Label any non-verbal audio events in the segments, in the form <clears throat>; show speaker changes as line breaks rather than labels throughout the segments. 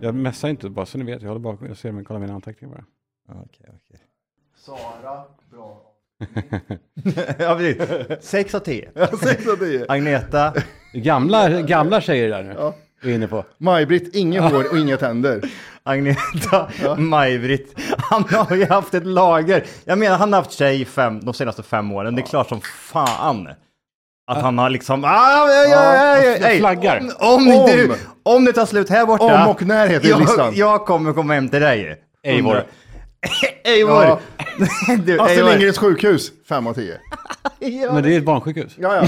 Jag messar inte, bara så ni vet. Jag håller bakom, jag ser men kollar mina anteckningar bara.
Okej, okej.
Sara, <laughs> bra.
ja, precis. 6 av 10.
6 av 10.
Agneta,
Gamla, gamla tjejer där nu,
Ja.
är inne på.
Maj-Britt, inget hår och inga tänder.
Agneta, Maj-Britt. Han har ju haft ett lager. Jag menar, han har haft tjej fem, de senaste fem åren. Det är klart som fan att han har liksom... Ah, ja, ja, ja, ja,
jag
ej.
flaggar.
Om, om,
alltså, Om.
Du, om det tar slut här borta.
Om och när heter listan.
jag, jag kommer komma hem till dig.
Eivor.
<laughs> Undra- Eivor!
Ja. Astrid
Du, Eivor.
Lindgrens sjukhus, 5 av 10.
Men det är ett barnsjukhus.
Ja, ja.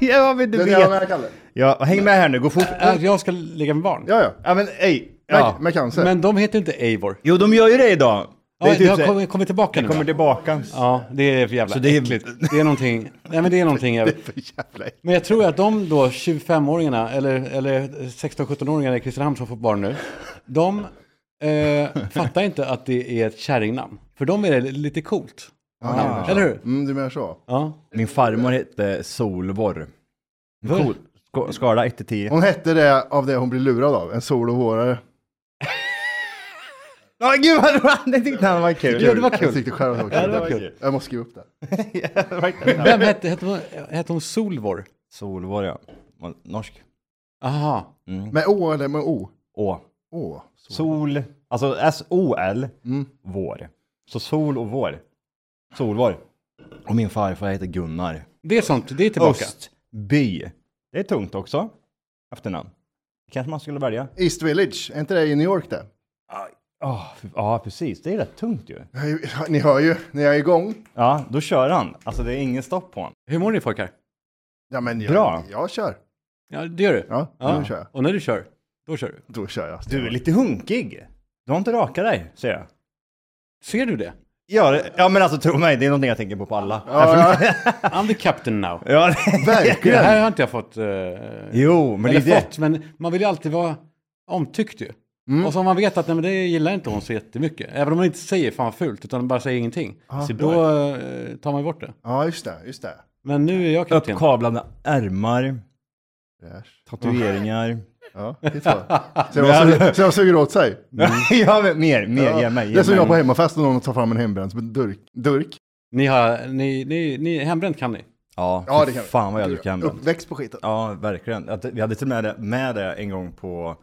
Ja, men du
Den är jag
vet.
med Äh. Kalle.
Ja, häng med här nu, gå fort.
Att Äh, jag ska ligga med barn?
Ja, ja.
Ja, men ej.
Med, med cancer.
Men de heter inte Eivor.
Jo, de gör ju det idag.
Det, ja,
typ
det har
så-
kommit, kommit tillbaka nu.
kommer
va?
tillbaka.
Ja, det är för jävla
Så det är-
äckligt. Det är någonting, nej men det är någonting jag...
För <laughs> jävla äckligt.
Men jag tror att de då, 25-åringarna, eller, eller 16-17-åringarna i Kristinehamn som får barn nu, de eh, fattar inte att det är ett kärringnamn. För de är det lite coolt.
Ja,
Eller hur?
Mm, du menar så.
Ja.
Min farmor hette Solvor. Cool. Sk- Skala 1 till 10.
Hon hette det av det hon blev lurad av, en sol och vårare.
Åh gud vad roligt! Det tyckte han var
Ja,
kul.
det var
Jag
kul.
tyckte själv att det
Ja, det
var
var
kul.
kul.
Jag måste skriva upp det.
Vem hette, hette, hon, hette hon Solvor?
Solvor ja. Var Norsk.
Aha.
Med Å eller med O?
Å.
Å. Så.
Sol. Alltså S-O-L.
Mm.
Vår. Så sol och vår. Solvor. Och min farfar hette Gunnar.
Det är sånt, det är tillbaka.
Östby. Det är tungt också. Efternamn. Kanske man skulle välja.
East Village, är inte det i New York det?
Ja, ja precis. Det är rätt tungt ju.
Jag är ju- <laughs> Ni hör ju, när jag är igång.
Ja, då kör han. Alltså det är ingen stopp på honom.
Hur mår ni pojkar?
Ja, men jag,
Bra.
jag kör.
Ja, det gör du?
Ja, nu kör jag.
Och när du kör, då kör du.
Då kör jag.
Du är lite hunkig. Du har inte rakat dig, ser jag.
Ser du det?
Ja, det- ja, men alltså tro mig, det är någonting jag tänker på på alla. <laughs>
Ja, ja.
I'm the captain <laughs> now.
Ja,
Det
<laughs>
Verkligen.
här har inte jag fått... eh,
jo, men det
eller
är det.
fått, men man vill ju alltid vara omtyckt ju. Och så om man vet att nej, men det gillar inte hon så jättemycket. Även om man inte säger fan vad fult, utan bara säger ingenting.
ser bra
då eh, tar man ju bort det.
Ja, just det. Just det.
Men nu är jag kapten.
Uppkavlade ärmar,
Fräsch.
tatueringar.
<laughs> Ja, titta. Ser de vad som- suger åt sig?
<laughs> ja, men mer, mer, ge mig.
det
ge
är som
mig.
jag på hemmafest när någon tar fram en hembränd som en durk. durk.
Ni har, ni, ni, ni, hembränt kan ni.
Ja,
Ja,
ja
det kan vi.
fan vad jag dricker hembränt.
Uppväxt på skiten.
Ja, verkligen. Att vi hade till och med det, med det en gång på...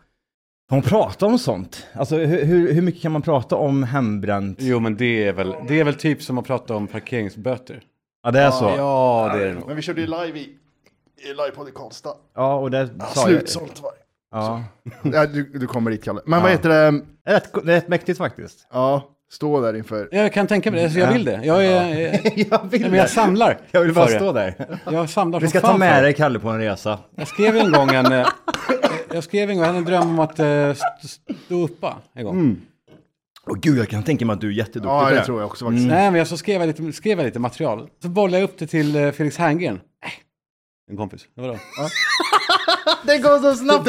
Hon pratade om sånt. Alltså hur, hur, hur mycket kan man prata om hembränt?
Jo, men det är väl, det är väl typ som att prata om parkeringsböter.
Ja, det är så. Ja,
Ja, det är det nog.
Men vi körde ju live i, i livepodd i Karlstad.
och det sa jag.
Slutsålt var det.
Ja.
Ja, du, du kommer dit Kalle. Men vad heter det?
Det är Rätt, det är rätt
<laughs>
mäktigt faktiskt.
Ja, stå där inför.
Jag kan tänka mig det, så jag vill det. Jag, är, eh,
jag vill
nej, men jag samlar.
<laughs> Jag vill bara
för det.
stå där.
Jag samlar
Vi
som
ska
fan
ta
för det.
med dig Kalle på en resa.
Jag skrev en gång en, eh, jag skrev en, gång, jag hade en dröm om att eh, st- stå uppa en gång.
Mm. Och gud, jag kan tänka mig att du är jätteduktig
Ja,
på
det tror jag också faktiskt.
Nej, men jag så skrev jag, lite, skrev jag lite material. Så bollade jag upp det till eh, Felix Herngren. Nej, en kompis. Det var då.
Det går så snabbt!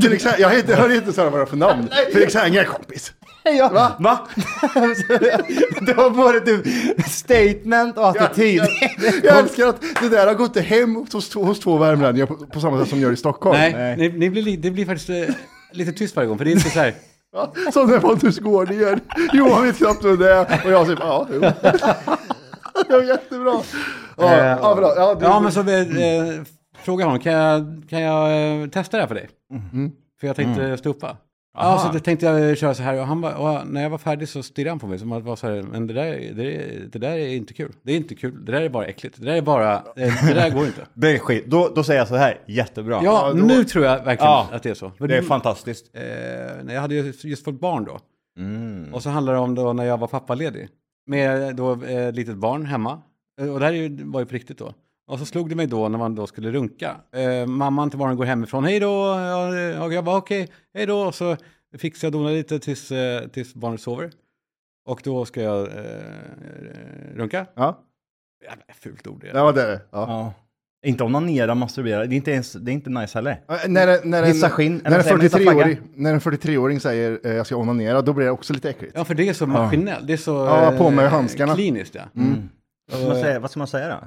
<laughs> Felix, Herngren- jag heter, hörde inte så vad det var för namn. Felix Herngren kompis.
Ja. Va? Va? det var både typ statement och attityd.
Jag älskar att det där har gått hem hos, två- hos två värmlänningar på, på samma sätt som gör i Stockholm.
Nej, Ni, ni blir, li- det blir faktiskt eh, lite tyst varje gång, för det är inte så här.
Ja, Som när Pontus Gård gör. Johan vet knappt vem det är och jag säger ja, jo. <laughs> Det var jättebra. Ja, ja, bra. Ja, du,
Eh, Ja, men så eh, eh, fråga honom, kan jag, kan jag eh, testa det här för dig?
Mm.
För jag tänkte stå uppa. Ja, så det tänkte jag köra så här och, han bara, och när jag var färdig så stirrade han på mig som att vara så här, men det där, det, det där är inte kul. Det är inte kul, det där är bara äckligt. Det där är bara, eh, det där går
<laughs>
inte.
Det är skit. Då, då säger jag så här, jättebra.
Ja, nu tror jag verkligen
Ja.
att det är så. För
Det är fantastiskt.
eh, när jag hade ju just fått barn då. Och så handlar det om då när jag var pappaledig. Med då eh, ett litet barn hemma. Eh, Och det här är ju- var ju på riktigt då. Och så slog det mig då när man då skulle runka. Eh, mamman till barnen går hemifrån. Hej då! Ja, eh, Och jag bara okej, hej då. Och så fixar jag och donar lite tills, eh, tills barnet sover. Och då ska jag eh, eh, runka.
ja,
Jävla fult ord det är.
det var det. Ja.
Ja. Inte onanera, masturbera. Det är inte, ens, det är inte nice heller.
När, när,
Hissa
en,
skinn,
när, en
eller vad säger man,
43-åring, när en 43-åring säger eh, jag ska onanera, då blir det också lite äckligt.
Ja, för det är så maskinellt. Det är så
Ja, på med
eh,
handskarna.
kliniskt. Ja.
Vad ska man säga, vad ska man säga då?
Nej,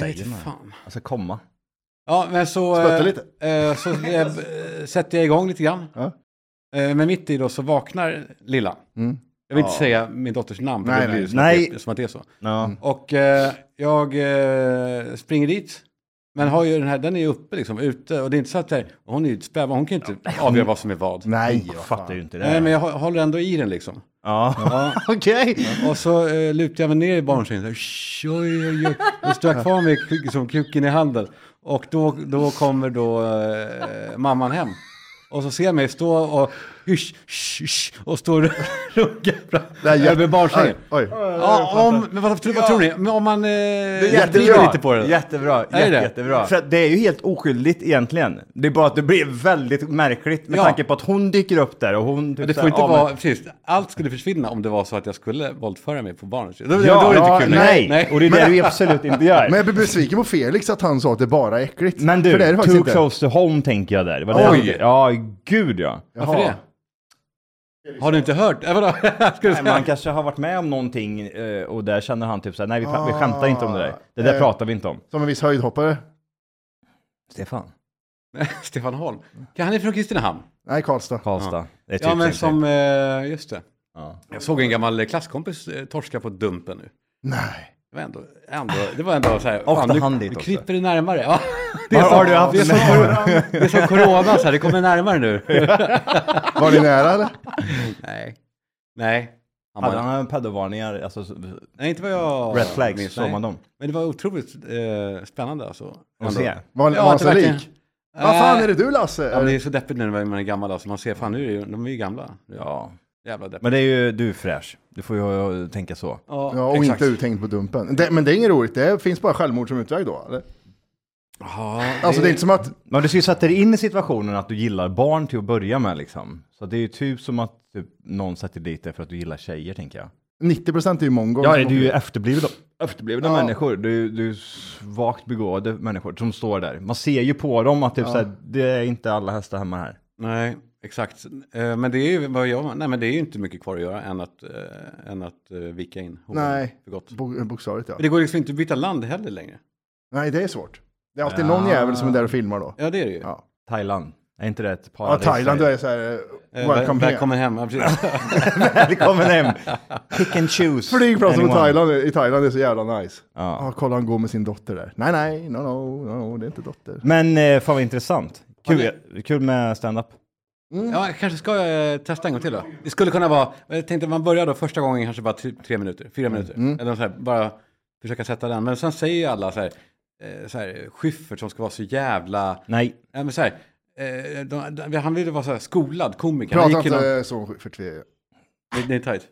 jag vet
säger man?
fan.
Alltså komma.
Ja, men så,
Spötta
eh,
lite.
eh, så eh, sätter jag igång lite grann.
Ja.
Eh, men mitt i då så vaknar lilla.
Mm.
Jag vill inte säga min dotters namn, för
Nej,
det blir ju
nej.
som, att
Nej.
det- som att det är så.
Ja.
Och eh, jag eh, springer dit. Men har ju den här, den är ju uppe liksom, ute. Och det är inte så att det här, hon är ju ett spädbarn, hon kan ju inte avgöra vad som är vad.
Nej,
Jag
vad
fattar ju
fan.
inte det.
Nej, men jag hå- håller ändå i den liksom.
Ja,
Ja.
<laughs>
okej.
Och så eh, lutar jag mig ner i barnsängen. så här, "Shh, Oj, oj, oj. Då står jag kvar med kuk- liksom, kuken i handen. Och då, då kommer då eh, mamman hem. Och så ser jag mig stå och hysch, hysch, hysch, och stå och runka fram-
Det här är jätte-
över barnsängen.
Oj.
Ja, om, men vad, vad tror ni? Men Om man eh, driver
Jättebra.
lite på det.
Jättebra.
Är
Jätte,
det?
jättebra. För att det är ju helt oskyldigt egentligen. Det är bara att det blir väldigt märkligt med
Ja.
tanke på att hon dyker upp där och hon... Typ
Men det
så
får
här,
inte
ja, men-
vara, precis, allt skulle försvinna om det var så att jag skulle våldföra mig på barnet. Då, då,
Ja,
då är det
ja,
inte kul längre.
nej. Och det är <laughs> det du absolut inte gör.
Men
Men,
jag blir besviken på Felix att han sa att det bara är äckligt.
du,
För det är det
too
faktiskt inte.
close to home tänker jag där. Det var
Oj.
det jag- Ja, gud ja.
Varför det? Har du inte hört? Äh, vadå? Jag skulle
Nej,
säga-
man kanske har varit med om någonting eh, och där känner han typ såhär, nej vi, ah, vi skämtar inte om det där. Det där
Eh.
pratar vi inte om.
Som en viss höjdhoppare.
Stefan.
<laughs> Stefan Holm. Kan han är från Kristinehamn.
Nej, Karlstad.
Karlstad. Det är typ
Ja, men
tänkt.
som, eh, just det.
Ja.
Jag såg en gammal klasskompis eh, torska på Dumpen nu.
Nej.
Det var ändå, ändå, det var ändå så här,
Ofta
nu,
han dit
nu
också.
kryper det närmare. Ja, det
Har- har du haft
det är
en-
som, corona- det är som corona, så här, det kommer närmare nu.
Var ni nära eller?
Nej. Nej. Han
Hade
bara,
han pedovarningar, alltså så-
nej, inte vad jag
red flags,
minns,
såg
nej.
man dem?
Men det var otroligt eh, spännande alltså.
Och
Ändå.
se.
Var, var han
att det
så
verkligen-
lik? Vad fan är det du Lasse?
Ja, men det är så deppigt nu när man är gammal, alltså. man ser fan nu är det, ju- de är ju gamla. Ja,
Ja.
jävla deppigt.
Men det är ju, du är fräsch. Du får ju eh, tänka så.
ja, och inte uttänkt på Dumpen. Det, men det är inget roligt, det finns bara självmord som utväg då? Eller?
Ja,
Alltså det är inte som att,
Men du ska ju sätta dig in i situationen att du gillar barn till att börja med liksom. Så det är ju typ som att typ, någon sätter dit dig för att du gillar tjejer tänker jag.
90% är ju mongon.
Ja,
som
du är ju
åker.
efterblivna, efterblivna människor. Du, du är svagt begåvade människor som står där. Man ser ju på dem att typ såhär, det är inte alla hästar hemma här.
Nej, exakt. Eh, Men det är ju vad jag, nej, men det är ju inte mycket kvar att göra än att, eh, än att eh, vika in hoven
Nej.
för gott. Men
Bo- eh, Bokstavligt ja.
det går liksom inte att byta land heller längre.
Nej, det är svårt. Det är alltid någon jävel som är där och filmar då.
Ja, det är det ju.
Ja.
Thailand. Är inte det ett
Ja,
paradis?
Thailand, då
<laughs>
är det så här, eh,
Eh,
welcome
väl-
here.
välkommen hem. Ja,
<laughs>
precis.
Välkommen hem! Pick and choose.
Flygplatsen i
Anyone.
Thailand, i Thailand är så jävla nice.
Ja.
Ja, kolla han går med sin dotter där. Nej, nej, no, no, no, no det är inte dotter.
Men eh, fan vad intressant. Kul, kul med stand-up.
ja, kanske ska jag eh, testa en gång till då. Det skulle kunna vara, jag tänkte att man börjar då första gången kanske bara tre, tre minuter,
Mm.
fyra minuter. Eller så här, bara försöka sätta den. Men sen säger ju alla så här, eh, så här Schyffert som ska vara så jävla,
Nej.
ja, men så här, eh, de, de, han ville vara så här skolad komiker. Han
Prata
gick ju någon,
inte så för tve, jag
det, det är tajt.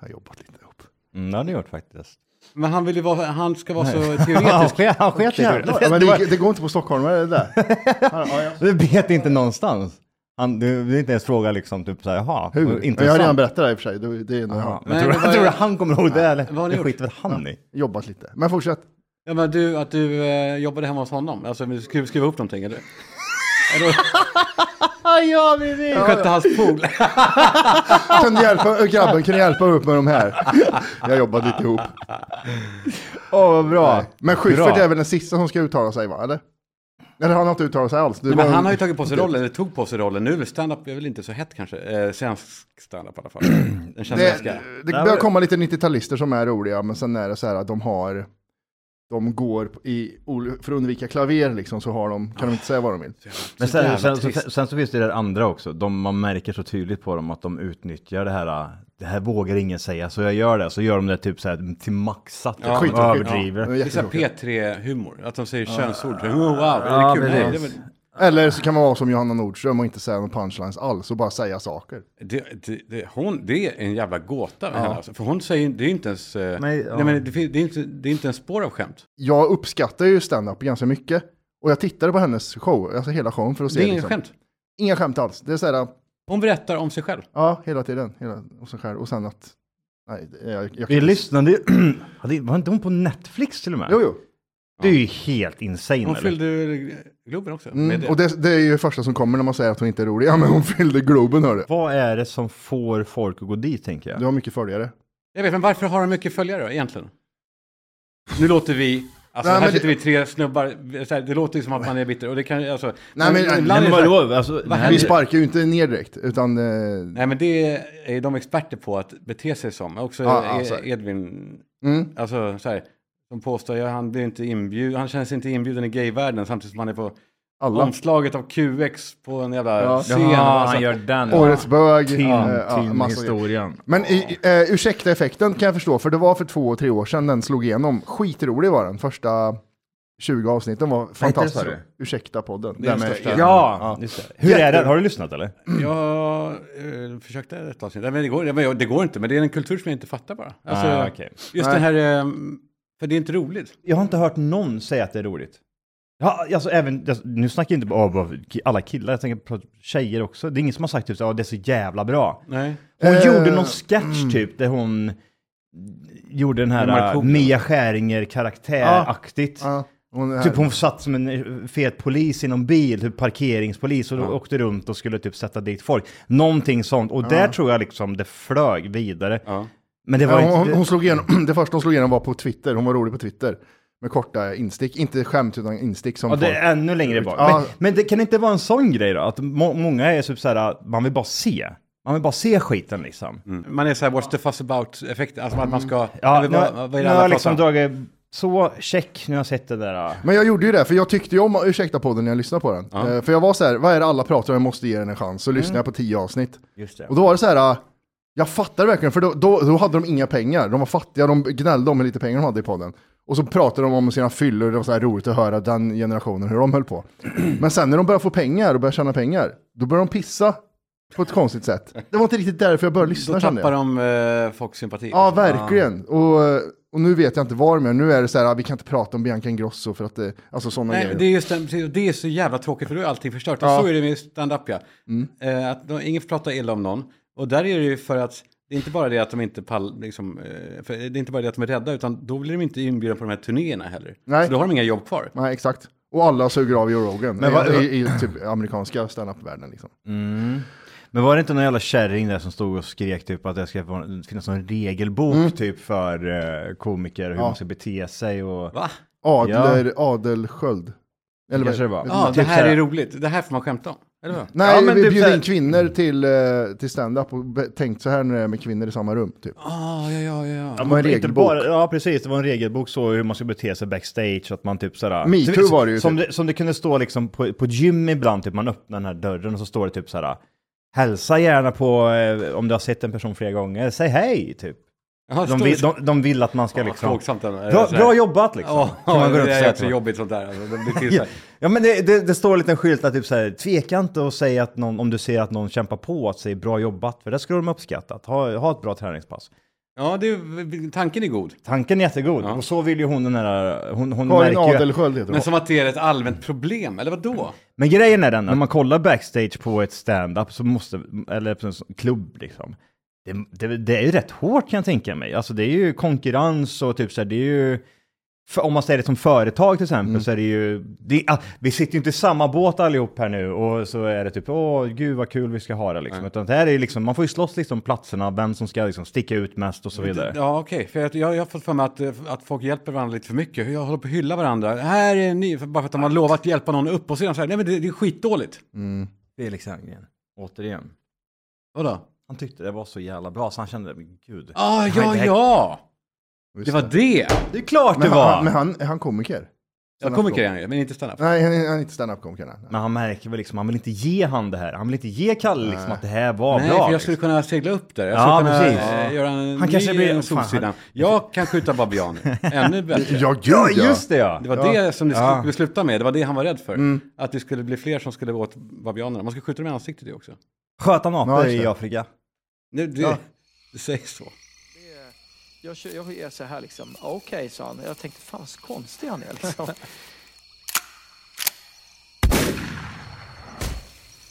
har jobbat lite ihop.
Mm, det har ni gjort <laughs> faktiskt.
Men han vill ju vara, han ska vara så
Han
teoretisk.
sket- han sket i
Jävlar, ja,
det. <laughs>
men
Det,
det,
var-
det går inte på stockholmare det där. Ja, ja, ja.
det bet inte någonstans. Han, du vill inte ens fråga liksom typ såhär, jaha,
Hur? Men Jag har
intressant.
redan berättat det här i och för sig. Det, det är,
Ja,
ja.
men
Nej,
tror, du,
det var-
tror du han kommer ihåg det
vad har
eller?
ni
Det
gjort?
skiter väl han i?
Jobbat lite. Men fortsätt.
Ja, men du, att du eh, jobbade hemma hos honom, alltså men du skrev, skrev upp någonting eller?
ja, precis!
Du skötte hans pool.
Kan du hjälpa, grabben, kan du hjälpa upp med de här? Jag har jobbat lite ihop.
Åh, vad bra.
Men Schyffert
Bra.
är väl den sista som ska uttala sig va, eller? Eller har han inte uttalat sig alls? Det
Nej,
var
men han
en-
har ju tagit på sig rollen, eller tog på sig rollen. Nu är väl stand-up är väl inte så hett kanske. Eh, svensk stand-up i alla fall. Den känns
Det,
ganska...
det
Där
börjar
var-
komma lite 90-talister som är roliga, men sen är det så här att de har, de går i, ol- för att undvika klaver liksom, så har de, kan de inte säga vad de vill.
Men
så
sen,
jävla
sen, sen,
trist.
sen, så finns det det där andra också. De, man märker så tydligt på dem att de utnyttjar det här. äh, Det här vågar ingen säga, så jag gör det. Så gör de det typ så här till maxat.
Ja.
liksom,
Skittråkigt.
överdriver.
Ja,
Det är så här
jättetråkigt.
P3-humor, att de säger könsord. Oh, wow, är
Ja,
det kul? Nej, det, är
precis.
väl-
Eller så kan man vara som Johanna Nordström och inte säga några punchlines alls och bara säga saker.
det, det, det, hon, det är en jävla gåta med henne. Alltså. För hon säger, det är ju inte ens... eh,
Nej, ja.
nej, men det, fin- det, är inte, det är inte en spår av skämt.
Jag uppskattar ju stand-up ganska mycket. Och jag tittade på hennes show, alltså hela showen för att se.
Det är ingen
liksom.
skämt.
Inga skämt alls. Det är så här,
Hon berättar om sig själv.
ja, hela tiden. Hela, och, så här, och sen att, nej, jag, jag, jag
Vi lyssnade ju... <clears throat> Ja, det- Var inte hon på Netflix till och med?
Jo, jo.
Det är ju helt insane.
Hon
eller?
fyllde eh, Globen också. med
Mm, och det, det är ju det första som kommer när man säger att hon inte är rolig. <laughs> Ja, men hon fyllde Globen, hörru.
Vad är det som får folk att gå dit, tänker jag?
Du har mycket följare.
Jag vet, men varför har de mycket följare då, egentligen? Nu låter vi Alltså
Nej,
här
men
sitter
det-
vi tre snubbar, så här, det låter ju som att man är bitter. Och det kan, alltså,
Nej, men-
ibland
Nej,
är
Men
det så här-
vadå? Alltså, det här-
Vi sparkar ju inte ner direkt, utan... Eh,
Nej men det är de experter på att bete sig som. Också
Ja, ja,
E-
så är det.
Edvin,
Mm.
alltså så här, som påstår att han, blir inte inbjud, han känns inte inbjuden i gayvärlden samtidigt som han är på
Alla.
omslaget av QX på en jävla
Ja.
scen.
Jaha,
Alltså,
han gör den.
Årets bög. eh, ja, massa grejer.
Tintin-historien.
Men i, eh, ursäkta effekten kan jag förstå, för det var för två, tre år sedan den slog igenom. Skitrolig var den, första 20 avsnitten var fantastisk.
heter det, sa
Ursäkta podden.
Det är
Den
den
med-
största.
Ja, just det. Hur är den? Har du lyssnat eller?
Jag eh, försökte ett avsnitt. Nej, men det, går, men jag- det går inte, men det är en kultur som jag inte fattar bara. Alltså,
Ah, okej.
Just
Nej.
det här, eh, för det är inte roligt.
Jag har inte hört någon säga att det är roligt. Ja, alltså även, alltså, nu snackar jag inte bara om alla killar, jag tänker på tjejer också. Det är ingen som har sagt typ så, att det är så jävla bra.
Nej.
Hon
Eh,
gjorde någon sketch typ, där hon gjorde den
Med
här
Markoolio.
uh, Mia Skäringer-karaktäraktigt.
Ja, hon eh, är här.
Typ hon satt som en fet polis i någon bil, typ parkeringspolis, och då åkte runt och skulle typ sätta dit folk. Någonting sånt. Och där tror jag liksom det flög vidare.
Ja.
Men det var
Ja,
inte...
hon, hon slog igenom, <clears throat> det första hon slog igenom var på Twitter, hon var rolig på Twitter. Med korta instick, inte skämt utan instick som
Ja, det
folk-
är ännu längre bak.
Ja.
Men, men det kan inte vara en sån grej då? Att må, många är typ så här, man vill bara se. Man vill bara se skiten liksom.
Mm.
Man är så här, what's the fuss about-effekten? Alltså att man ska...
Mm. Ja,
jag vill
nu,
bara- vad är
nu
det alla
har jag
pratar
liksom
om?
dragit, så check, nu har jag sett det där. ja.
Men jag gjorde ju det, för jag tyckte ju om Ursäkta podden när jag lyssnade på den. Eh, För jag var så här, vad är det alla pratar om, jag måste ge den en chans. Så
Mm.
lyssnade jag på tio avsnitt.
Just det.
Och då var det så här, eh, jag fattar verkligen, för då, då, då hade de inga pengar. De var fattiga, de gnällde om hur lite pengar de hade i podden. Och så pratade de om sina fyllor, det var så här roligt att höra den generationen, hur de höll på. <clears throat> Men sen när de började få pengar och började tjäna pengar, då började de pissa på ett konstigt sätt. Det var inte riktigt därför jag började lyssna
Då
kände jag.
tappar de eh, folks sympati.
Ja, verkligen. Och, eh, och nu vet jag inte var de är. Nu är det så här, ah, vi kan inte prata om Bianca Ingrosso för att det, alltså sådana
Nej,
grejer.
det är, just den, precis, och det är så jävla tråkigt för då är allting förstört. Och
Ja.
så är det med stand-up ja. Eh, att de, ingen får prata illa om någon. Och där är det ju för att det är inte bara det att de inte pall, liksom, eh, för det är inte bara det att de är rädda utan då blir de inte inbjudna på de här turnéerna heller.
Nej.
Så då har de inga jobb kvar.
Nej, exakt. Och alla suger av Joe Rogan
Men
i,
vad-
i, i typ amerikanska standup-världen. Liksom.
Mm. Men var det inte någon jävla kärring där som stod och skrek typ att det ska vara- finnas någon regelbok
Mm.
typ för eh, komiker, hur man ska bete sig och...
Va?
Adler, Adelsköld. Eller vad
Kanske det var.
Ja,
Typ
det här
så här-
är roligt. Det här får man skämta om. Eller vad?
Nej,
Ja, men
vi
typ så
bjuder
här-
in kvinnor till, eh, till stand-up och be- tänkt så här när det är med kvinnor i samma rum. Typ.
Ah, ja, ja, ja.
Ja,
var en
inte
regelbok.
bara- ja, precis. Det var en regelbok så hur man ska bete sig backstage. Att man typ sådär...
Me too var det ju typ.
Som, det, som det kunde stå liksom på, på ett gym ibland, typ man öppnar den här dörren och så står det typ sådär... Hälsa gärna på, eh, om du har sett en person flera gånger, säg hej typ.
Jaha,
De
står-
vill, de, de vill att man ska
Ja,
liksom...
plågsamt ändå. Eller
Bra,
så här.
bra jobbat liksom.
Ja,
kan man gå runt
det
och
är
säga
också
till
jobbigt sånt där. Alltså, det blir till så
<laughs> Ja,
här.
ja men det, det, det står en liten skylt där typ såhär, tveka inte och säga att någon, om du ser att någon kämpar på, att säga bra jobbat, för det skulle de uppskattat. Ha, ha ett bra träningspass.
Ja, det, är- tanken är god.
Tanken är jättegod.
Ja.
Och så vill ju hon den här... Hon, hon
Karin
märker ju...
Adelsköld heter hon.
Men som att det är ett allmänt problem, eller vad då?
Men grejen är den, när man kollar backstage på ett stand-up så måste... Eller på en sån klubb liksom. Det, det, det är ju rätt hårt kan jag tänka mig. Alltså det är ju konkurrens och typ så här, det är ju... för- Om man säger det som företag till exempel så är det ju... Det, ah, vi sitter ju inte i samma båt allihop här nu och så är det typ åh gud vad kul vi ska ha det liksom. Utan det här är ju liksom, man får ju slåss liksom om platserna, vem som ska liksom sticka ut mest och så vidare.
Ja, okej. För jag, jag, jag har fått för mig att, eh, att folk hjälper varandra lite för mycket. Jag håller på att hylla varandra. Här är ni, för- bara för att de har lovat att hjälpa någon upp och sedan så här, nej men det, det är skitdåligt.
Mm,
Det är liksom grejen. Återigen.
Vadå?
Han tyckte det var så jävla bra så han kände, men gud.
Ah,
det
ja,
här-
ja!
Just
Det var det!
Det är klart
men
det
han,
var!
han, men han, är han komiker?
Jag kommer inte igen, men inte stanna.
Nej, han, är- han är inte standup-komiker. nej.
Men han märker väl liksom, han vill inte ge han det här. Han vill inte ge Kalle liksom att det här var
Nej,
bra. liksom.
för jag skulle kunna segla upp där. Jag skulle
Ja,
kunna
precis.
eh, göra en
Han kanske
ny
blir-
eh,
fan,
Solsidan.
han-
Jag kan skjuta
<laughs>
babianer. Ännu bättre.
Ja, gud
Ja,
ja!
just liksom. det ja! Mm.
Det var det som det skulle sluta med. Det var det han var rädd för. Att det skulle bli fler som skulle gå åt babianerna. Man ska skjuta dem i ansiktet det också.
Sköt han
Ja,
apor
just det.
i Afrika?
Nu, det,
Ja.
det sägs så.
Jag, kö- jag är så här liksom, "Ah, okej sa han. Jag tänkte fan vad så konstig han är liksom. <laughs>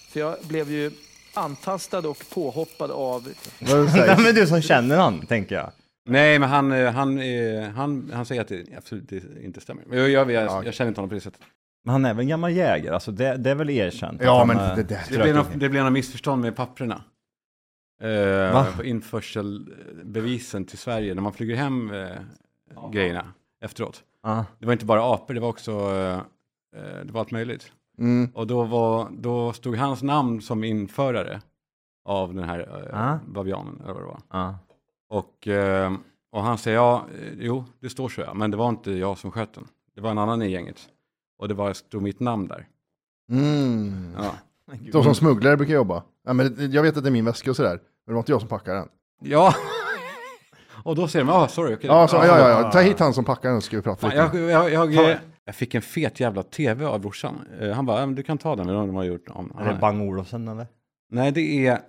För jag blev ju antastad och påhoppad av
Vad
Nej
sägs?
<laughs> men du som känner han, tänker jag.
Nej, men han, eh, han, eh, han, han säger att det absolut inte stämmer. Men Jag, jag, jag, jag känner inte honom på det sättet.
Men han är väl en gammal jägare, alltså det, det är väl erkänt. att
Ja,
han,
men
eh,
det där.
Det blev, någon, det blev någon missförstånd med papperna. Eh,
Va?
på införselbevisen till Sverige när man flyger hem eh, grejerna efteråt.
Ja.
Det var inte bara apor, det var också eh, eh, det var allt möjligt.
Mm.
Och då, var, då stod hans namn som införare av den här eh,
Ah.
bavianen. Eller vad det var.
Ja.
Och, eh, och han säger, ja, eh, jo, det står så, ja, men det var inte jag som sköt den. Det var en annan i gänget. Och det var, stod mitt namn där.
Mm.
Ja.
De som smugglare brukar jobba. Ja, men det- jag vet att det är min väska och sådär, men det var inte jag som packade den.
ja. <laughs> och då säger de, ja, sorry, okej.
Ja, så, ja, ja, ja. Ta hit han som packade den så ska vi prata
Fan,
lite.
jag, jag, jag,
Fan.
eh, jag fick en fet jävla tv av brorsan. Eh, Han bara, ja, men du kan ta den, eller om de har gjort om.
Är det Bang Olofsen eller?
Nej, det är...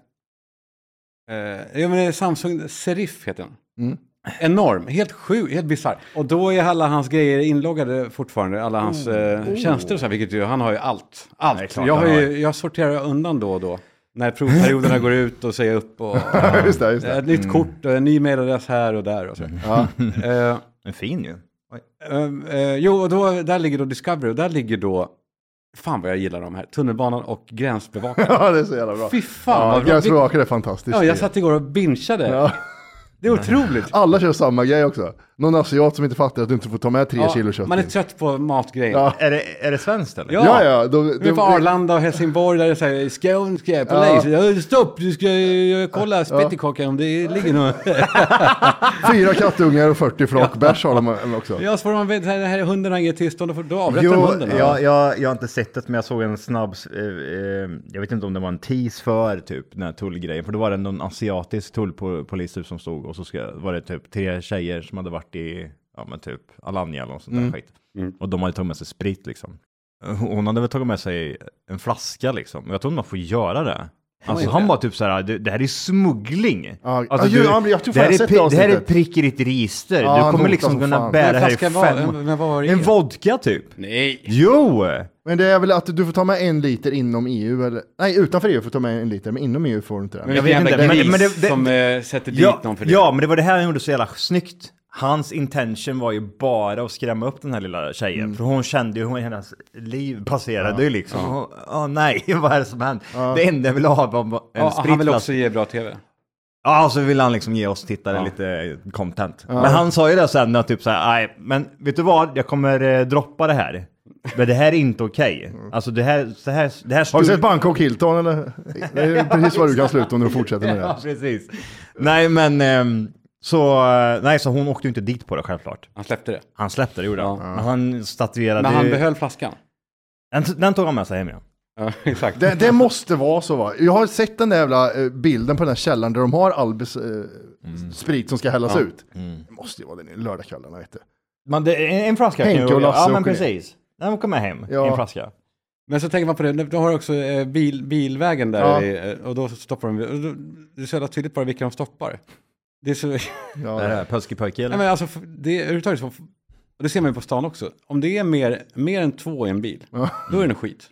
Eh, ja, men det är Samsung Serif heter den.
Mm.
Enorm, helt sjuk, helt bisarr. Och då är alla hans grejer inloggade fortfarande, alla hans eh, tjänster och så här, vilket ju, han har ju allt. Allt.
Det är klart
jag,
han
har
har.
ju, jag sorterar undan då och då. När provperioderna går ut och säger upp <laughs> och... Eh,
Ja, <laughs> just det, just det.
Ett nytt kort, och en ny mailadress här och där och så.
Ja.
Eh,
En fin ju. Oj.
Ehm, eh, jo, och då, där ligger då Discovery och där ligger då, fan vad jag gillar de här, tunnelbanan och gränsbevakningen.
ja, det är så jävla
<laughs>
bra.
Fy fan
ja,
vad bra. Vi-
Gräsbevakare är fantastiskt.
Ja, jag satt igår och bingeade.
Ja.
Det är otroligt.
Alla kör samma grej också. Någon asiat som inte fattar att du inte får ta med tre
Ja,
kilo kött
man är
in.
trött på matgrejen.
Ja.
Är det, är det svenskt eller?
Ja.
Ja, ja. Då,
Vi är på Arlanda och Helsingborg där det säger skånska polis. Ja. Stopp, du ska eh, kolla spettekockan om det ligger någon.
<laughs>
<laughs>
Fyra kattungar och 40 flak bärs har de också.
Ja, så får man veta, här är hunden har inget tillstånd, då får- då avrättar
Jo,
de hunden.
jag, jag, jag har inte sett det, men jag såg en snabb, eh, eh, jag vet inte om det var en tease för typ den här tullgrejen, för då var det någon asiatisk tullpolis typ, som stod och så ska, var det typ tre tjejer som hade varit i, ja men typ Alanya eller något sånt
Mm.
där skit. Och de hade tagit med sig sprit liksom. Hon hade väl tagit med sig en flaska liksom, och jag tror man får göra det. Alltså han bara typ såhär, "Du, det här är smuggling.
Ja,
alltså,
ja, ju, ja, men jag tror
det,
fan
här
jag
är,
sett
pri-
det
det här är
avsnittet."
prick i ditt register.
Ja, han
du kommer
hotar
liksom
som
kunna
fan.
bära
Men
det här i
flaskan
fem...
var- men vad var det i?
en vodka typ.
Nej.
Jo!
Men det är väl att du får ta med en liter inom EU eller? Nej, utanför EU får du ta med en liter, men inom EU får du inte det.
Men
Jag
jag
vet
vet jävla
inte, men-
gris
men det- det-
som eh, sätter dit
Ja,
någon för det.
ja, men det var det här han gjorde så jävla snyggt. Hans intention var ju bara att skrämma upp den här lilla tjejen.
Mm.
För hon kände ju, hon, hennes liv passerade ju liksom. Ja, nej, <laughs> vad är det som händer? Det enda jag ville ha var bara en
Ja, han vill
spritflaska.
också ge bra tv.
Ja, så vill han liksom ge oss tittare
Ja.
lite content. Men han sa ju det sen, att typ så här, nej, men vet du vad, jag kommer eh, droppa det här. Men det här är inte okej.
Mm.
Alltså det här, det här, det här
Har du
stod-
sett Bangkok Hilton eller? Det är precis vad du kan sluta om du fortsätter med
<laughs> Ja,
det.
precis. Nej, men ehm, så, eh, nej, så hon åkte ju inte dit på det självklart.
Han släppte det.
Han släppte det, gjorde han.
Ja.
Men han statuerade...
Men han behöll flaskan.
den, den tog han med sig hem igen.
Ja, <laughs> exakt.
det. Det måste vara så va? Jag har sett den där jävla eh, bilden på den här källaren där de har all bes, eh, sprit som ska hällas
Mm. Ja. Mm.
ut. Det måste ju vara den lördagskvällarna vet du. <laughs>
Men det, en, en flaska
Henke
kan ju-
och Lasse
Ja, men
åker ner.
precis. Den kom med hem,
Ja.
en flaska.
Men så tänker man på det, då har du också eh, bil, bilvägen där
Ja.
i, eh, och då stoppar de, och då, det är så jävla tydligt bara vilka de stoppar. Det är så, <laughs> nej
Ja.
Ja. Pöskepöke eller?
men alltså, f- det är överhuvudtaget så, och det ser man ju på stan också, om det är mer, mer än två i en bil, då är det en skit.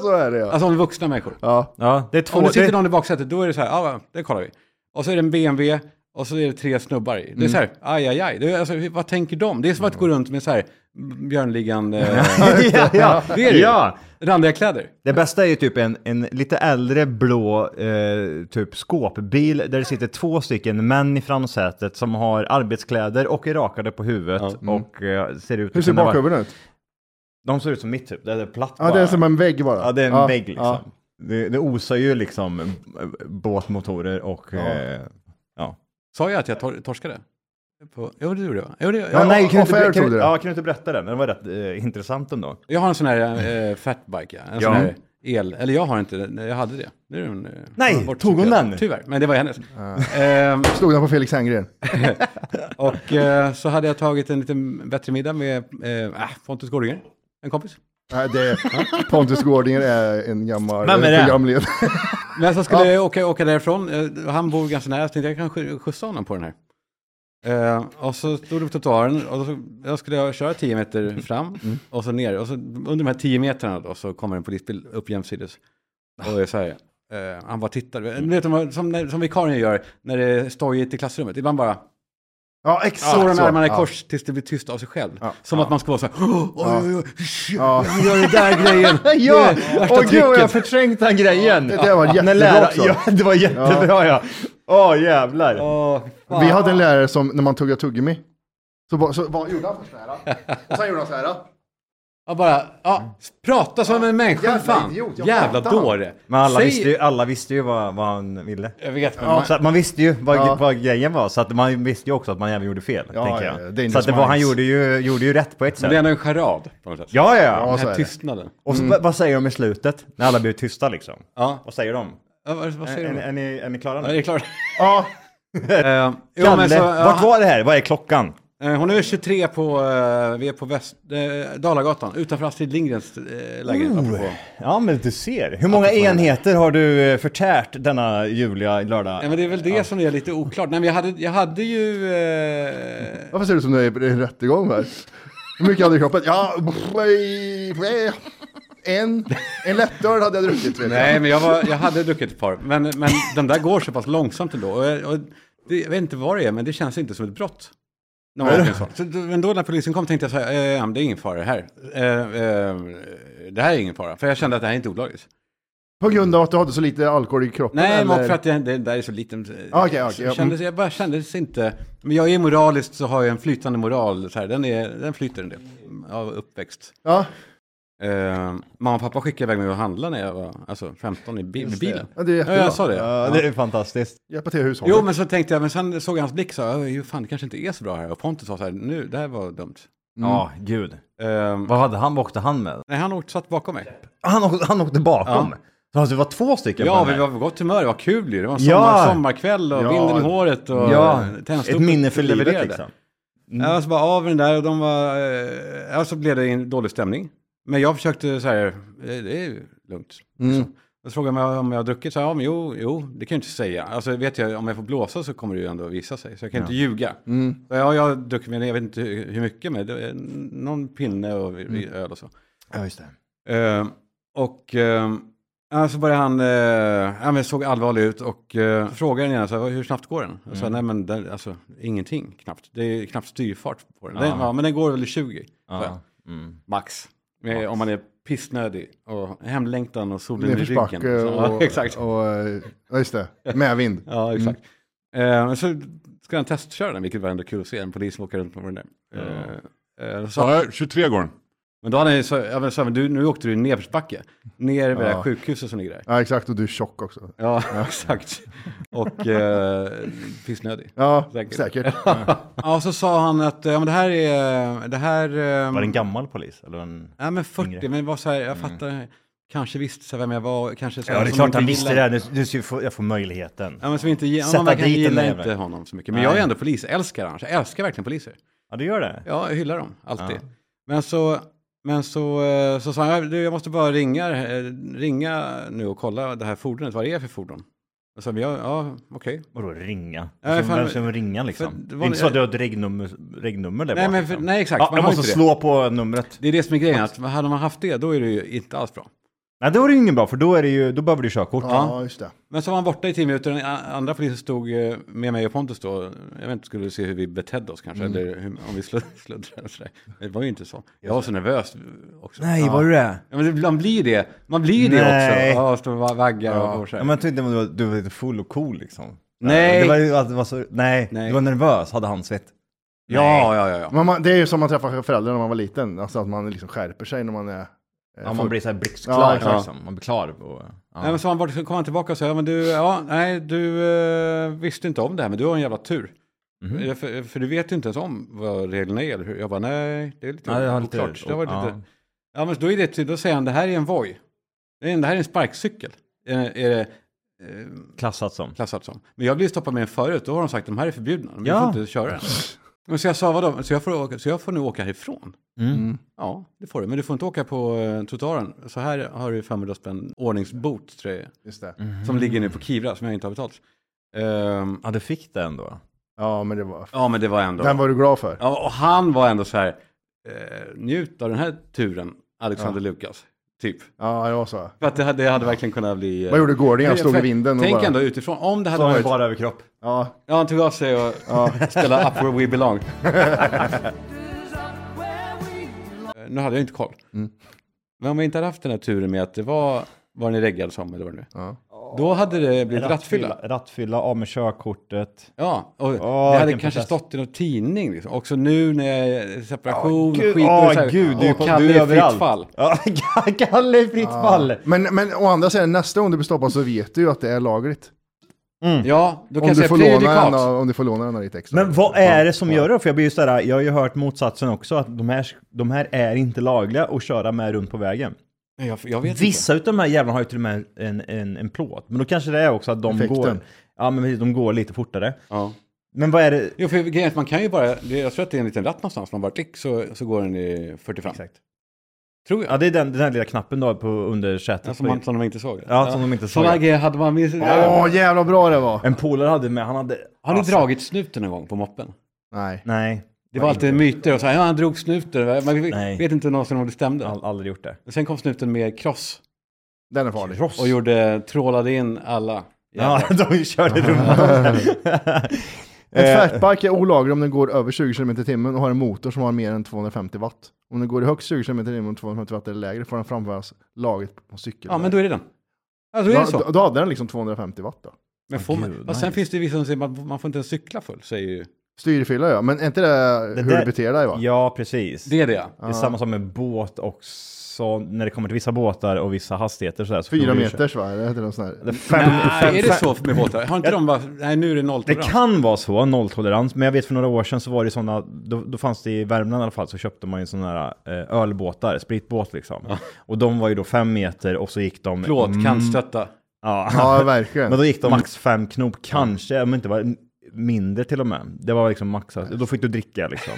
så är det ja.
Alltså om vuxna människor.
ja.
Ja, det är två...
Om det sitter
Det,
någon i baksätet, då är det så här, ja, det kollar vi. Och så är det en BMW, och så är det tre snubbar i.
Mm.
Det är så här, aj, aj, aj. Det är, alltså, vad tänker de? Det är som att gå runt med så här, Björnligan,
<laughs>
eh,
<laughs> ja, ja,
det är det ju.
ja.
randiga kläder.
Det bästa är ju typ en, en lite äldre blå eh, typ skåpbil där det sitter två stycken män i framsätet som har arbetskläder och är rakade på huvudet och eh, ser ut
mm. Hur ser
kunna vara-
bakhuvudet ut?
De ser ut som mitt typ, det är platt
Ja, det är som en vägg bara.
ja, det är en vägg liksom.
ja.
Det, det osar ju liksom eh, båtmotorer och... Ja, eh, ja.
Sa jag att jag tor- torskade? På, jo, det gjorde jag. Jo, det, jag,
ja nej,
och-
kan du,
och
inte,
Fair
kan,
trodde
du-
det.
ja, kan du inte berätta den? Den var rätt eh, intressant ändå.
jag har en sån här eh, fatbike, ja. en
Ja.
sån här el. Eller jag har inte det, Nej, jag hade det. Nu är den, eh,
Nej,
bortsorterad.
tog hon den? Ah.
Tyvärr, men det var hennes. Ehm,
Stod den på Felix Herngren?
och eh, så hade jag tagit en liten bättre middag med eh, ah, Pontus Gårdinger, en kompis.
Nej, det
<laughs>
Pontus Gårdinger är en gammal
Vem är det?
programledare.
Men så skulle jag åka, åka därifrån, eh, och han bor ganska nära, så tänkte jag kan skj- skjutsa honom på den här. Eh, och så stod det på trottoaren och så, jag skulle jag köra 10
Mm.
meter fram och så ner. Och så, under de här 10 metrarna då, så kommer en polisbil upp jämsides. Och är så här, eh, han bara tittar. Mm. Vet, du, som, när, som vikarien gör när det är stojigt i klassrummet. Ibland bara
Ja, exakt
står de med
så.
armarna i
Ja.
kors tills det blir tyst av sig själv.
Ja.
Som att man ska vara så här, "Åh, oj, oj, oj, shit,
Ja.
han gör den där
<laughs>
grejen. <laughs>
Ja!
Det är värsta
Åh gud, jag har
trycket.
förträngt den grejen!
Det där var
När
jättebra
lära-
också.
Ja, det var jättebra ja. Åh jävlar.
Åh, fan.
Vi hade en lärare som, när man tuggade tuggummi, Så, bara, så bara, gjorde han först så här. Och sen gjorde han så här.
Ja, bara, ja, prata som en människa,
Jävla
fan.
idiot, jag
jävla
fattar.
dåre.
Men alla
Säg-
visste ju, alla visste ju vad, vad han ville.
Jag vet, men
Så
man,
att man visste ju vad,
Ja.
vad grejen var, så att man visste ju också att man även gjorde fel.
Ja,
tänker
ja, ja,
jag.
dangerous
så att det var, han
minds.
gjorde ju, gjorde ju rätt på ett
men
sätt.
det är
Ja,
ändå en charad på något sätt.
ja, ja.
Ja,
Den
så
här
är det.
tystnaden.
Och så, vad- vad säger de i slutet? När alla blir tysta liksom.
Ja,
Vad säger de?
ja vad, vad
Är,
säger
är,
du?
är, ni, är ni klara
Ja,
nu?
det är klart.
Ja,
Eh, jo,
Kalle,
men så, ja,
vart var det här? Vad är klockan?
eh, hon är 23 på, eh, vi är på väst, eh, Dalagatan, utanför Astrid Lindgrens eh, lägenhet. apropå.
Ja, men du ser. Hur många enheter har du eh, förtärt denna juliga lördag?
Ja, men det är väl det som är lite oklart. Nej, men jag hade, jag hade ju... Eh,
varför ser du ut som du är i en rättegång här? Hur mycket hade du i kroppen? Ja, en, en lättöl hade jag druckit. Vet jag.
nej, men jag, var, jag hade druckit ett par. Men, men de där går så pass långsamt ändå. Och, jag- och det, jag vet inte vad det är, men det känns inte som ett brott. När man åker en sån. så, då- men då när polisen kom tänkte jag så här, eh, det är ingen fara det här. Eh, eh, det här är ingen fara, för jag kände att det här är inte olagligt.
På grund av att du hade så lite alkohol i kroppen?
Nej, men
eller?
också för att det, det där är så liten.
Ah, okej, okej, ja.
jag, kändes, jag bara kändes inte... Men jag är moraliskt så har jag en flytande moral. Så här, den, är, den flyter en del av uppväxt.
Ja,
Eh, mamma och pappa skickade iväg mig och handla när jag var alltså, 15 i bi- med bilen.
ja, det är
Ja,
jättebra.
jag sa det.
Ja, det är fantastiskt.
Hjälpa till i hushållet.
Jo, men så tänkte jag, men sen såg jag hans blick så här, "Oj, fan det kanske inte är så bra här. Och Pontus sa så här, nu, det här var dumt.
Ja, gud.
Ehm,
Vad hade han, vad åkte han med?
nej, han åkte satt bakom mig.
Han åkte, han åkte bakom? Så alltså, det var två stycken på
Ja,
den
vi
här.
var på gott humör, det var kul ju. Det var en
Ja.
sommar, sommarkväll och
Ja.
vinden i håret och
Ja,
tändstoppet
ett minne för livet
levererade.
liksom.
Ja, så bara av med den där och de var... eh, Ja, så blev det en dålig stämning. Men jag försökte så här, eh, det är ju lugnt. Liksom. Och så frågade jag mig om jag har druckit, så här, ja men jo, jo, det kan jag inte säga. Alltså vet jag, om jag får blåsa så kommer det ju ändå visa sig, så jag kan inte ljuga. Så, ja, jag har druckit, men jag vet inte hur hur mycket, men det är någon pinne och vi- vi- öl och så.
Ja, just det.
Eh, och eh, ja, så började han, eh, ja, men såg allvarlig ut och eh, frågade den ena, så här, hur snabbt går den? Jag sa, nej men den, alltså, ingenting knappt. Det är knappt styrfart på den. den ja, men den går väl i 20, sa jag.
Ja. Mm.
max. Eh, Om man är pissnödig och hemlängtan och solen i ryggen. Så,
Nedförsbacke eh, och,
ja, <laughs> exakt.
och... eh, Ja, just det. Medvind.
Ja, exakt. Eh, så ska han testköra den, vilket var ändå kul att se. En polis som åker runt med den där. Eh, eh, så,
Ja, 23 går den.
Men då hade han ju sagt, ja, men så här, men du, nu åkte du i nedförsbacke. Ner vid det här sjukhuset som ligger där.
Ja, exakt. Och du är tjock också.
Ja, <laughs> exakt. Och eh, pissnödig.
Ja,
Säkert.
säkert.
<laughs> Ja, så sa han att eh, ja, men det här är... Det här, eh,
Var det en gammal polis? Eller en...
Nej, men 40, men det var så här, jag fattar. Kanske visste så här vem jag var. Kanske så här,
Ja, det är
som
klart
inte
han visste
gillar-
det. här. Nu, nu ska jag få- jag får möjligheten.
Ja, men som inte, ge- ja,
Sätta
man verkar
dit den
gillar
där
inte
jäveln.
honom så mycket. Men
Nej.
jag är ändå polisälskare annars. Jag älskar verkligen poliser.
Ja, du gör det?
Ja, jag hyllar dem alltid. Men så... Men så, eh, så sa han, "Ja, du, jag måste bara ringa, eh, ringa nu och kolla det här fordonet, vad det är för fordon. Jag sa, "Men jag, ja, okej.
Vadå ringa?
Nej,
Alltså,
fan,
vem ska ringa liksom?
för det
Det
var-
är inte så att du har ett regnummer, regnummer där
Nej,
bak,
men för-
liksom.
nej, exakt.
Ja,
Man
jag
har
måste
inte det.
slå på numret.
Det är det som är grejen, att hade man haft det då är det ju inte alls bra.
Nej, då är det ju ingen bra, för då, är det ju, då behöver du körkort.
Ja, just det.
Men så var han borta i tio minuter, den a- andra polisen stod eh, med mig och Pontus då, jag vet inte, skulle se hur vi betedde oss kanske, eller hur, om vi slud- <laughs> sluddrade och sådär. Men Det var ju inte så. Jag var så nervös också.
Nej, var du det?
Ja, men ibland blir det, man blir det
Nej.
också. Ja, står och vaggar och, och så
Ja,
här.
men jag tyckte du var, du var lite full och cool liksom.
Nej.
Det var, ju att det var så, nej,
Nej.
du var nervös, hade han svett.
ja, ja, ja, ja.
Men man, det är ju som man träffar föräldrar när man var liten. Alltså att man liksom skärper sig när man är... eh,
Ja, man
full.
blir såhär blixtklar
Ja,
exakt.
liksom. Man blir klar. Och, ja.
Nej, men så var han borta, så kom han tillbaka och sa, ja men du, ja, nej, du eh, visste inte om det här, men du har en jävla tur.
Mhm.
Eh, För, för du vet ju inte ens om vad reglerna är, eller hur? Jag bara, nej, det är lite
Nej, jag har lite-
oklart. det var lite,
ja.
Ja, men då, är det, till- då säger han, det här är en Voi. Det är en- det här är en sparkcykel, är, är det eh,
Klassat som.
klassat som. Men jag blev stoppad med en förut, då har de sagt, de här är förbjudna, de
Ja.
får inte köra
<laughs>
den. Men så jag sa, vadå, så jag får, åka, så jag får nu åka härifrån?
Mm.
Ja, det får du, men du får inte åka på eh, trottoaren. Så här har du 500 spänn ordningsbot, tror jag
Just det.
som ligger
Mm.
nu på Kivra som jag inte har betalt. Ehm,
Ja, du fick det ändå.
Ja, men det var...
ja, men det var ändå...
Den var du glad för.
Ja, och han var ändå så här, eh, njut av den här turen, Alexander Lukas, typ.
Ja, det var så.
För att det hade, det hade verkligen kunnat bli... eh,
Vad gjorde Gårding? Han
för-
stod i vinden och
Tänk
bara...
ändå utifrån, om det hade
Som
varit...
bara överkropp.
Ja,
Ja, han tog av sig och spelade Up Where We
<laughs>
Belong. Eh, nu hade jag
Mm.
inte koll. Men om jag inte hade haft den här turen med att det var, var den reggad som, eller vad det nu
Ja.
Då hade det blivit rattfylla.
Rattfylla, av med körkortet.
Ja, och
Åh,
det hade
vilken
kanske
process.
stått i någon tidning. Liksom. Också nu när jag är separation,
Gud,
skit
åh,
och så här,
gud, du, är
och
på-
Kalle
du
i
är
fritt
överallt.
fall.
Ja, <laughs> Kalle i fritt fall.
Men, men å andra sidan, nästa gång du blir stoppad så vet du ju att det är lagligt.
Ja, då
Om du,
kanske
får
jag
låna en,
prejudikat.
av- om du får låna den av ditt extra.
Men vad är det som gör det? För jag blir ju såhär, jag har ju hört motsatsen också, att de här, de här är inte lagliga att köra med runt på vägen.
Nej, Jag, jag vet inte.
Vissa utav de här jävlarna har ju till och med en, en, en plåt. Men då kanske det är också att de
Effekten.
går... Ja, men precis, de går lite fortare.
Ja.
Men vad är det?
Jo, för grejen är att man kan ju bara, det- jag tror att det är en liten ratt någonstans, man bara klick så, så går den i 45.
Exakt.
Tror jag.
Ja, det är den, den här lilla knappen då på under sätet.
Ja, som, man, som de inte såg.
ja, som de inte såg.
Sådana grejer hade man minst.
Åh, jävla bra det var!
En polare hade med, han hade...
Har ni
alltså,
dragit snuten någon gång på moppen?
Nej.
Nej,
Det var alltid myter och så här, ja han drog snuten. Man
Nej.
vet inte någonsin om det stämde.
all, aldrig gjort det.
Sen kom snuten med kross
Den är farlig.
och gjorde, trålade in alla.
Ja,
jävlar.
<laughs> de
<laughs>
körde runt.
En
Eh.
fatbike är olaglig om den går över 20 km i timmen och har en motor som har mer än 250 watt. Om den går i högst 20 km i timmen och 250 watt eller lägre får den framföras lagligt på cykel.
ja, men då är det den. Ja, då är det
då,
så.
då, då hade den liksom 250 watt då.
Men får man,
Gud,
och sen
nice.
finns det vissa som säger man, man får inte ens cykla full, säger ju.
Styrfylla ja, men är inte det,
Det
hur
där-
du beter dig va?
Eh, ja, precis.
Det är det ja.
Det är samma som med båt också, när det kommer till vissa båtar och vissa hastigheter. Sådär, så
Fyra
får vi ju köra-
meters va? Eller heter det något
<laughs>
sån här?
Eller fem, fem,
Nej, är det
fem-
så med båtar? Har inte de bara, nej nu är det
Det
nolltolerans?
kan vara så, nolltolerans. Men jag vet för några år sedan så var det sådana, då, då fanns det i Värmland i alla fall, så köpte man ju sådana här eh, ölbåtar, spritbåt liksom. Och de var ju då fem meter och så gick de...
Plåt, kantstötta.
Ja.
Ja, verkligen.
Men då gick de max fem knop, kanske, om det inte var mindre till och med. Det var liksom max, då fick du dricka liksom.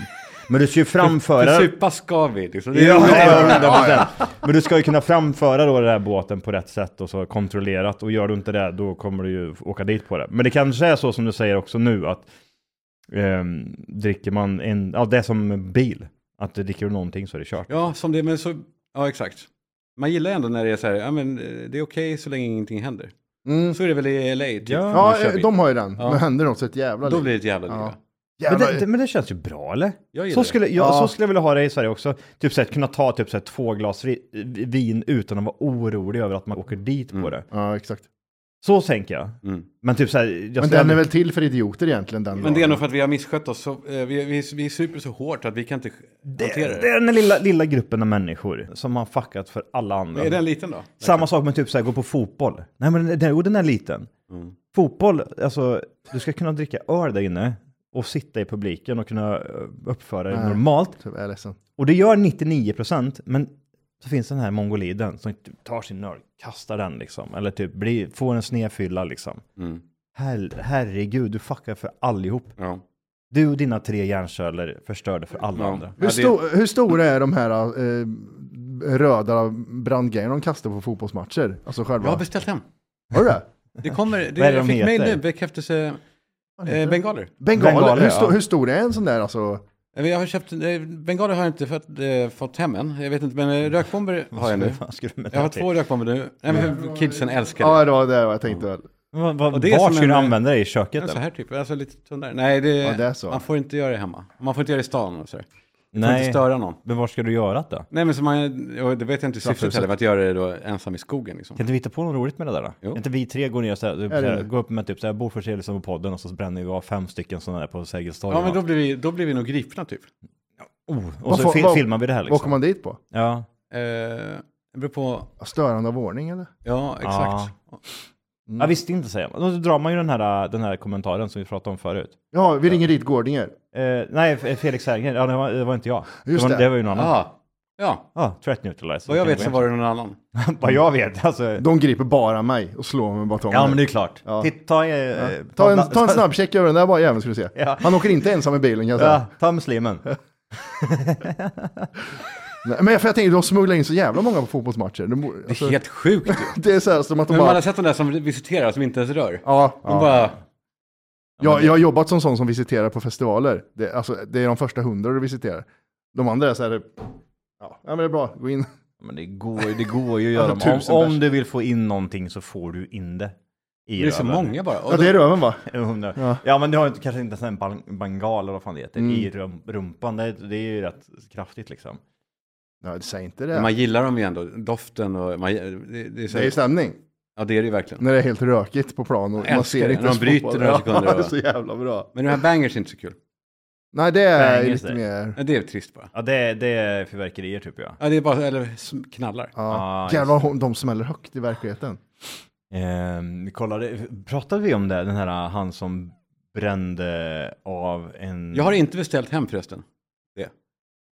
Men du ska ju framföra...
För supa ska vi. Liksom. Det är-
Ja, ja, ja, ja. Men du ska ju kunna framföra då den här båten på rätt sätt och så kontrollerat. Och gör du inte det, då kommer du ju åka dit på det. Men det kanske är så som du säger också nu, att ehm, dricker man en, ja det är som bil. Att dricker du någonting så är det kört.
Ja, som det, men så, ja exakt. Man gillar ändå när det är så här, ja men eh, det är okej så länge ingenting händer.
Mm.
Så är det väl i LA, typ.
Ja.
Man
Ja,
kör
eh,
bil.
de har ju den.
Ja.
Men händer något så ett jävla
Då
liv.
blir det ett jävla liv.
Ja.
Ja.
Men
Jävla...
det, det, men det känns ju bra eller?
Jag gillar
Så skulle, jag,
Ja.
så skulle jag vilja ha det i Sverige också. Typ så här, att kunna ta typ så här, två glas ri- vin utan att vara orolig över att man åker dit på
Mm.
det.
Ja, exakt.
Så tänker jag.
det. Mm.
Men typ så här, jag
Men
skulle
den är
aldrig-
väl till för idioter egentligen den
Men det är
lagen.
nog för att vi har misskött oss. Så, eh, vi, vi, vi super så hårt att vi kan inte hantera
Det,
det.
det är den lilla, lilla gruppen av människor som har fuckat för alla andra.
Är den liten då?
Samma sak med typ så här, gå på fotboll. Nej men den, den, jo, den är liten.
Mm.
Fotboll, alltså du ska kunna dricka öl där inne och sitta i publiken och kunna eh, uppföra dig
Nej.
normalt.
Typ, jag är ledsen.
Och det gör 99% men så finns den här mongoliden som typ tar sin öl, kastar den liksom. Eller typ blir, får en snedfylla liksom.
Mm.
Her, herregud, du fuckar för allihop.
Ja.
Du och dina tre hjärnceller förstörde för alla
Ja.
andra.
Hur,
det-
sto- hur stora är de här eh, röda brandgrejerna de kastar på fotbollsmatcher? Alltså själva...
Jag har beställt hem.
Har du det?
Det kommer, det,
Vad är det
jag
de
fick mejl
heter?
nu, bekräftelse,
Vad heter
eh,
det?
bengaler.
Bengaler,
Bengaler,
hur, sto-
ja.
hur stor är en sån där alltså?
Eh, Jag har köpt, eh, bengaler har jag inte fått, eh, fått hem än. Jag vet inte, men eh, rökbomber har jag nu.
Vad fan ska du med
Jag har
det till?
två rökbomber nu. Nej, men kidsen älskar det.
Ja, det var det jag tänkte väl.
Vad, vad,
Och det är
vart
som
ska du
en-
använda det i köket?
Ja, så
Eller?
här typ, alltså lite tunnare. Nej, det,
Ja, det är så.
man får inte göra det hemma. Man får inte göra det i stan. Och så där. Man får inte
Nej,
störa någon.
men var ska du göra det?
Nej, men så man, och det vet jag inte syftet
Trapphuset.
heller, att göra det då ensam i skogen liksom.
Kan inte vi hitta på något roligt med det där? Då?
Jo.
Kan inte vi tre går ner och så här,
Är
så
det
här,
det?
går upp med typ så här bordförseelse på podden och så bränner vi av fem stycken sådana där på Sergels torg.
Ja, men
va?
då blir vi, då blir vi nog gripna typ.
oh, och
Vad
så
får-
fil-
vad-
filmar vi det här
Vad kom
liksom.
man dit på?
Ja,
Eh, det beror på,
Störande av ordning eller?
ja exakt.
jag visste inte säger man. Då drar man ju den här, den här kommentaren som vi pratade om förut.
Ja, vi ringer dit Gårdinger.
Eh, nej, F- Felix Herngren, ja, det, var, det var inte jag.
Just
det, var,
det.
det var ju någon annan.
Ja, ja.
Ja, threat neutralizer.
Vad jag vet så var det någon annan.
<laughs> Vad jag vet, alltså.
De griper bara mig och slår mig med batonger.
Ja, men det är klart.
Ja.
Titta, ta, eh,
ta, en, ta en snabb Alltså. check över den där bara jäveln ska du se.
<laughs> Ja.
Han åker inte ensam i bilen kan jag säga.
Ja, ta muslimen.
Nej, Men för jag tänker, de smugglar in så jävla många på fotbollsmatcher. De, bor-
Det
alltså,
är helt <laughs> sjukt ju.
det är så här som att de
Men man
bara...
har sett de där som visiterar, som inte ens rör. De
Ja, ja.
bara,
Jag, jag har jobbat som sån som visiterar på festivaler. Det, alltså, det är de första hundra du visiterar. De andra är så här, ja, ja men det är bra, gå in.
Men det går, ju- det går ju att göra.
Tusen
Om,
pers.
om du vill få in någonting så får du in det. I
det är så
röven. <laughs>
många bara.
Ja,
Och
det
då,
är röven va?
Jag undrar.
Ja. Mm.
Ja. men du har ju kanske inte ens en ban- bangal eller vad fan det heter i rum- rumpan. Det, det är ju rätt kraftigt liksom.
Nej, säg inte
men
det.
man gillar dem ju ändå, doften och man, det, det är så
Det är
här,
stämning.
Ja, det är det ju verkligen.
När det är helt rökigt på plan och man
älskar
ser
det,
inte
när de
ens
bryter
fotboll.
några sekunder,
<laughs> Ja, det är
va?
så jävla bra.
Men de här bangers är inte så kul.
Nej, det är
Bangers
lite
är-
mer...
Ja, det är trist bara.
Ja, det, det är fyrverkerier typ ja.
Ja, det är bara, eller sm- knallar.
Ja.
Ah, just
Jävlar, hon- de smäller högt i verkligheten.
Ehm, vi kollade, pratade vi om det? Den här äh, han som brände av en...
Jag har inte beställt hem förresten. Det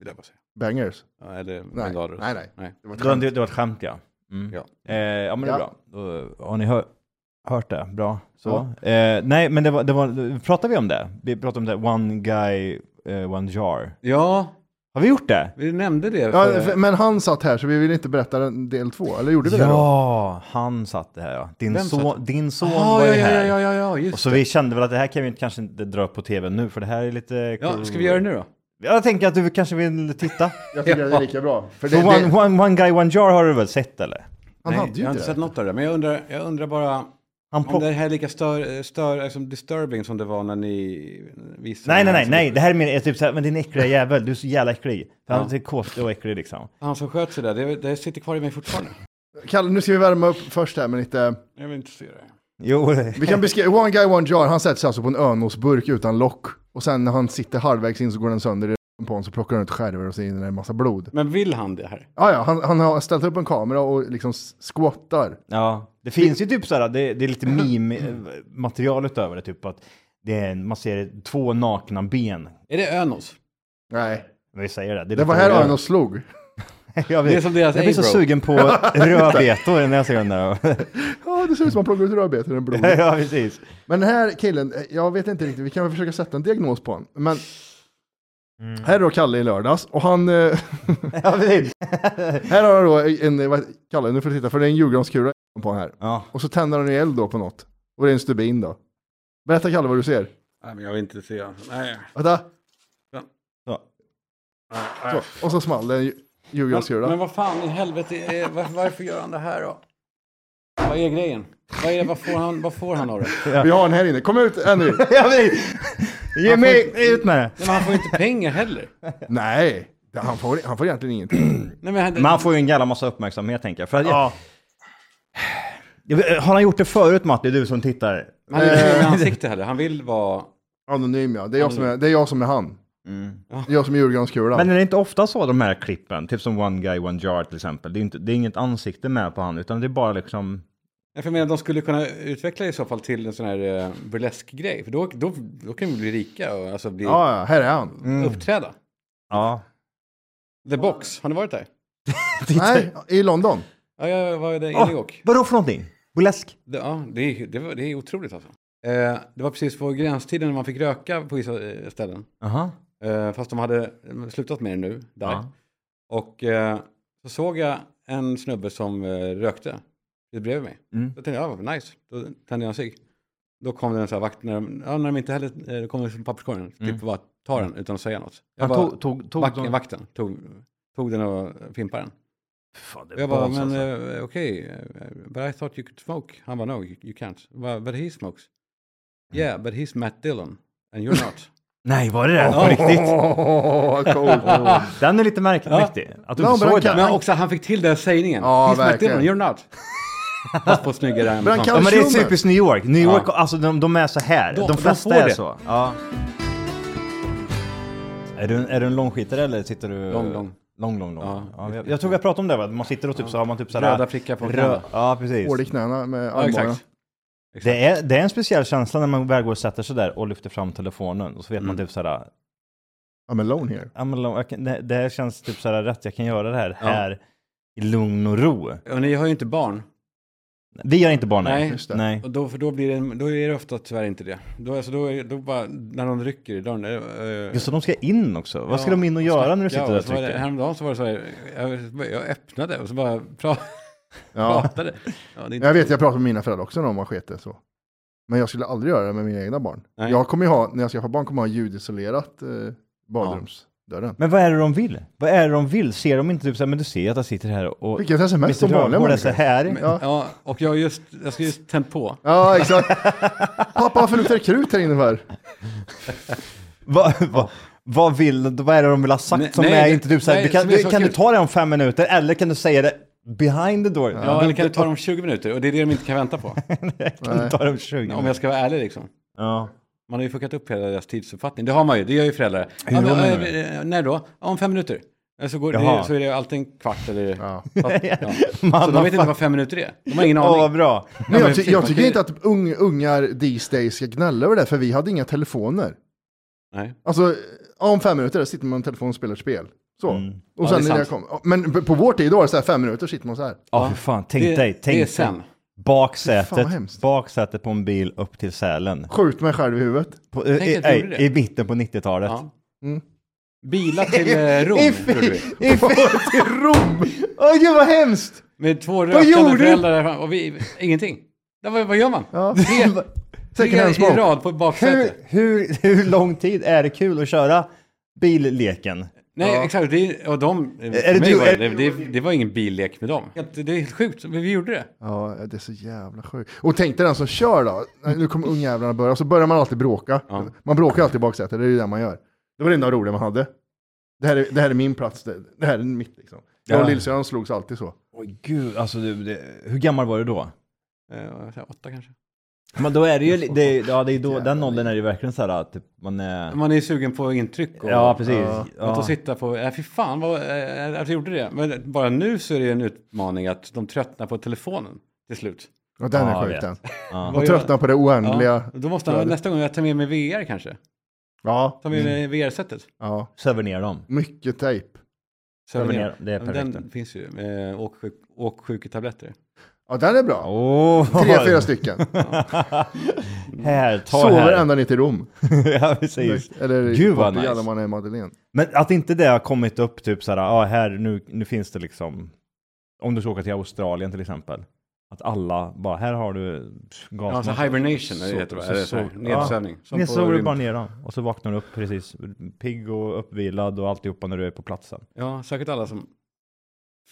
vill jag bara säga.
Bangers.
Ja, eller
Nej,
bengaler. och så.
nej, nej.
Oh nej.
Det var ett skämt.
det, var, det var ett skämt ja. Mm.
Ja.
Eh, ja men det är
Ja.
bra. Då, har ni hör, hört det? Bra. Så. Eh, nej men det var, det var, pratade vi om det? Vi pratade om det, One Guy, eh, One Jar.
Ja,
Har vi gjort det?
vi nämnde det.
Ja,
för-
f- men han satt här så vi vill inte berätta den- del två, eller gjorde vi det då?
Ja, han satt det här ja. Din,
Vem
son, din son
Ah,
var ju
ja, ja,
här.
ja, ja, ja, just
Och så vi kände väl att det här kan vi inte- kanske inte dra upp på tv nu, för det här är lite...
ja, Ska vi göra det nu då?
Jag tänker att du kanske vill titta.
Jag tycker det är lika bra. För det,
Så one,
det,
one, one guy, one jar har du väl sett eller?
han
Nej,
hade ju
jag har inte
inte
sett
det.
något av det, men jag undrar, jag undrar bara
Han
om
plock...
det här är lika stör, stör, liksom disturbing som det var när ni visade.
Nej, nej,
den här
nej,
som-
nej, det här är mer ett typ såhär, men din äckliga jävel, du är så jävla äcklig. För
Ja.
han är kåt och äcklig liksom.
Han som sköt sig där, det, det sitter kvar i mig fortfarande.
Kalle, nu ska vi värma upp först här med lite...
Jag vill inte se det.
Jo,
Vi kan beskriva, One Guy One Jar, han sätter sig alltså på en örnnosburk utan lock. Och sen när han sitter halvvägs in så går den sönder i röven på honom så plockar han ut skärvor och så in i den en massa blod. Ah,
Men vill han det här?
Ja, ja, han, han har ställt upp en kamera och liksom s- squattar.
ja. Det finns ju typ såhär, det, det är lite meme-material utöver det, typ att det är, en- man ser två nakna ben.
Är det Önos?
Nej,
Men vi säger det.
det var här Örnnos slog.
<laughs> jag,
Det är som deras
jag blir så
A-bro.
sugen på rödbetor när jag ser den där. <laughs>
Ja, det ser ut som att man plockar ut rödbetor ur blod.
ja, precis.
Men den här killen, eh, jag vet inte riktigt, vi kan väl försöka sätta en diagnos på honom. Men här är då Kalle i lördags och han, eh, <laughs>
Ja, precis.
här har han då en, eh, vad, Kalle nu får du titta för det är en julgranskula på honom här.
Ja.
Och så tänder han ju eld då på något. Och det är en stubin då. Berätta Kalle vad du ser.
Nej, men jag vill inte se. Nej.
Vänta.
Ja.
Så, och så small det en ju-
Men, men
julgranskula.
vad fan i helvete, är, varför, varför gör han det här då? Vad är grejen? Vad, är det, vad, får, han, vad får han av det?
Vi har den här inne, kom ut Henry.
Ja, precis. <laughs> Ge mig ut med det.
Nej, men han får ju inte pengar heller.
<laughs> Nej, det- han får, han får egentligen ingenting. <clears throat>
Nej, men han,
Men han får ju en jävla massa uppmärksamhet tänker jag. För att jag, jag, har han gjort det förut Matti, du som tittar?
han är inte med ansikte heller. Han vill vara...
Anonym ja, det är jag som är, det är, jag som är han. Det är jag som är
Men
julgranskulan.
är det inte ofta så de här klippen, typ som One Guy One Jar till exempel, det är, inte, det är inget ansikte med på han utan det är bara liksom...
Jag menar, de skulle kunna utveckla i så fall till en sån här eh, burlesk-grej. För då, då, då kan vi bli rika och alltså bli,
Ja, ja, här är han.
<laughs>
Mm.
uppträda.
Ja.
The Box, har ni varit där?
Nej, i London.
Ja, jag var där i New
Oh,
York.
vadå för någonting? Burlesk?
Det, ja, det, är- det, var, det är otroligt alltså. Eh, det var precis på gränstiden när man fick röka på vissa eh, ställen.
Aha.
Eh, fast de hade eh, slutat med det nu, där.
Ja.
Och eh, så såg jag en snubbe som eh, rökte precis bredvid mig.
Mm.
Då tänkte jag, ja, vad nice. Då tände jag en cigg. Då kom det en sån här vakt, när de, ja, när de inte heller, eh, då kom det från papperskorgen, typ bara ta den utan att säga något. Jag
Han
bara,
Mm. tog, tog, tog
vak,
de...
Vakten tog, tog den och fimpade den.
Fan, det
Och
är
jag bara,
balls,
men
alltså.
eh, okej, eh, but I thought you could smoke. Han bara, no, you, you can't. Jag Bara, but he smokes.
Mm.
Yeah, but he's Matt Dillon, and you're not. <laughs>
Nej, var det det? På
Ja.
riktigt? <laughs>
Åh, coolt.
Den är lite märklig. Att du
Ja,
inte
men
såg
den
den.
Men också, han fick till den sägningen.
Ja,
he's Matt
verkligen.
Dillon, you're not. Fast på snyggare än
<laughs> Men han
sånt.
Ja, men det är
Kalsjummen.
typiskt New York. New York, alltså de, de är så här.
De-
De,
de
flesta
får
är
det.
så. Ja. Är du, en- är du en långskitare eller sitter du...
Lång, lång.
Lång, lång, lång.
Ja.
Ja. jag, jag tror vi har pratat om det va? Man sitter och typ så har man typ så här...
Röda prickar på knäna.
rö- Ja, precis.
Hård i knäna med
Ja,
armbågarna.
exakt.
Det är, det är en speciell känsla när man väl går och sätter sig där och lyfter fram telefonen och så vet man
Mm.
typ så här...
I'm alone here.
"Ja, men lång- jag kan- Det, det här känns typ så här rätt, jag kan göra det här här i lugn och ro.
Och ni har ju inte barn.
Vi har inte barn här.
Nej.
Just det.
Nej.
Och då, för då, blir det, då är det ofta tyvärr inte det. Då, alltså, då, är, då bara, när de rycker i dörren. eh,
Just det, de ska in också. Vad
ja,
ska de in och göra när du sitter
ja,
där
och
och
så var det,
trycker?
Häromdagen så var det så här, jag, jag öppnade och så bara pra,
Ja.
pratade. Ja, det är inte,
Jag vet, jag pratar med mina föräldrar också om man skete så. Men jag skulle aldrig göra det med mina egna barn.
Nej.
Jag kommer ju ha, när jag skaffar barn kommer jag ha ljudisolerat eh, badrumsdörren.
Men vad är det de vill? Vad är det de vill? Ser de inte typ så här, men du ser att jag sitter här och...
Vilket sms
Mr.
som vanliga
Rörgård är så
människor.
här.
men,
ja.
ja. och jag har just, jag ska just tänt på.
Ja,
<laughs>
exakt. Pappa, varför luktar det krut här inne för?
Vad, vad, vad, vill, vad är det de vill ha sagt
Nej,
som
nej,
är
det-
inte typ så här,
nej,
du kan,
som är
du,
så
kan du
kul.
ta det om fem minuter eller kan du säga det behind the door.
Ja, eller kan det ta dem 20 minuter? Och det är det de inte kan vänta på.
det kan ta dem 20
Om jag ska vara ärlig liksom.
Ja.
Man har ju fuckat upp hela deras tidsuppfattning. Det har man ju, det gör ju föräldrar. Ja,
Hur
men,
då menar
eh, eh, när då? Ja, om fem minuter. Eh, Så, går,
Jaha.
det, så är det alltid en kvart eller...
Ja.
Fast, <laughs> ja. Så de
Mamma,
vet inte vad fem minuter är. De har ingen
Åh, vad
aning.
bra.
Men jag,
men
ty-
precis,
jag
man
tycker
kan-
inte att un- ungar these days ska gnälla över det, för vi hade inga telefoner.
Nej.
Alltså, ja, om fem minuter sitter man med en telefon och spelar ett spel. Så. Och
Mm. Ja,
sen
det är
när jag
sant.
kom, men på- på vår tid då var det så här fem minuter sitter man så här.
Ja, fy fan. Tänk
Det,
dig,
det är
tänk dig.
sen.
Fy fan,
Baksätet,
vad hemskt.
baksätet på en bil upp till Sälen.
Skjut mig själv i huvudet.
På, eh,
Tänk
i,
att du gjorde
eh,
det.
I mitten på 90-talet.
Ja.
Mm.
Bilar till eh, Rom gjorde vi.
<laughs>
I till Rom! Åh gud vad hemskt!
Med två
gjorde du?
rökande föräldrar där fram- och vi, ingenting. Ja, vad, vad gör man?
Ja.
Tre,
Second
tre
hand
i
smoke.
rad på ett baksäte.
Hur, hur, hur lång tid är det kul att köra billeken?
Nej, exakt. Det, och de,
Är det
för mig
du-
var det,
är det-
det, det, det var ingen billek med dem. Att Det är helt sjukt, men vi gjorde det.
Ja, det är så jävla sjukt. Och tänk dig den som kör då. Nej, Nu kommer ungjävlarna börja. Och så börjar man alltid bråka.
Ja.
Man bråkar alltid i baksätet, det är ju det man gör. Det var det enda roliga man hade. Det här är, det här är min plats, det, det här är mitt liksom. Jag och
Ja.
lillsyrran slogs alltid så.
Åh gud, alltså du, det, hur gammal var du då?
Eh, vad var det, åtta kanske.
Men då är det ju, li- det, ja det är då, den åldern är det ju verkligen så här att typ, man är...
Man är ju sugen på intryck. Och,
Ja, precis.
Ja.
Att
Ja.
och sitta på, äh, fy fan vad, äh, att jag gjorde det. Men bara nu så är det en utmaning att de tröttnar på telefonen till slut.
Och den
Ja, jag
är sjuk
vet.
den.
Ja.
Vad
Och
gör-
tröttnar på det oändliga.
Ja, Mm. då måste han, nästa gång jag tar med mig VR kanske.
Ja,
Ta med mig VR-sättet.
ja.
Söver ner dem.
Mycket tejp.
Söver
ner, det är perfekt.
Den finns ju. Eh, åksjuk, åksjuketabletter.
Ja, den är bra.
Åh!
Tre, fyra stycken.
<laughs>
här, <laughs> ta
Sover
här.
ända ner till Rom.
<laughs> ja, precis.
Eller
Gud, vad
vart i
nice.
jävla man är i Madeleine.
Men att inte det har kommit upp typ så här, ja här nu, nu finns det liksom, om du ska åka till Australien till exempel, att alla bara, här har du
Ja, alltså
gasmask.
hibernation är det heter det,
så-
är det så,
så-
Nedsövning. Som
Ni
på
sover du
rymd.
bara ner dem och så vaknar du upp precis pigg och uppvilad och alltihopa när du är på platsen.
Ja, säkert alla som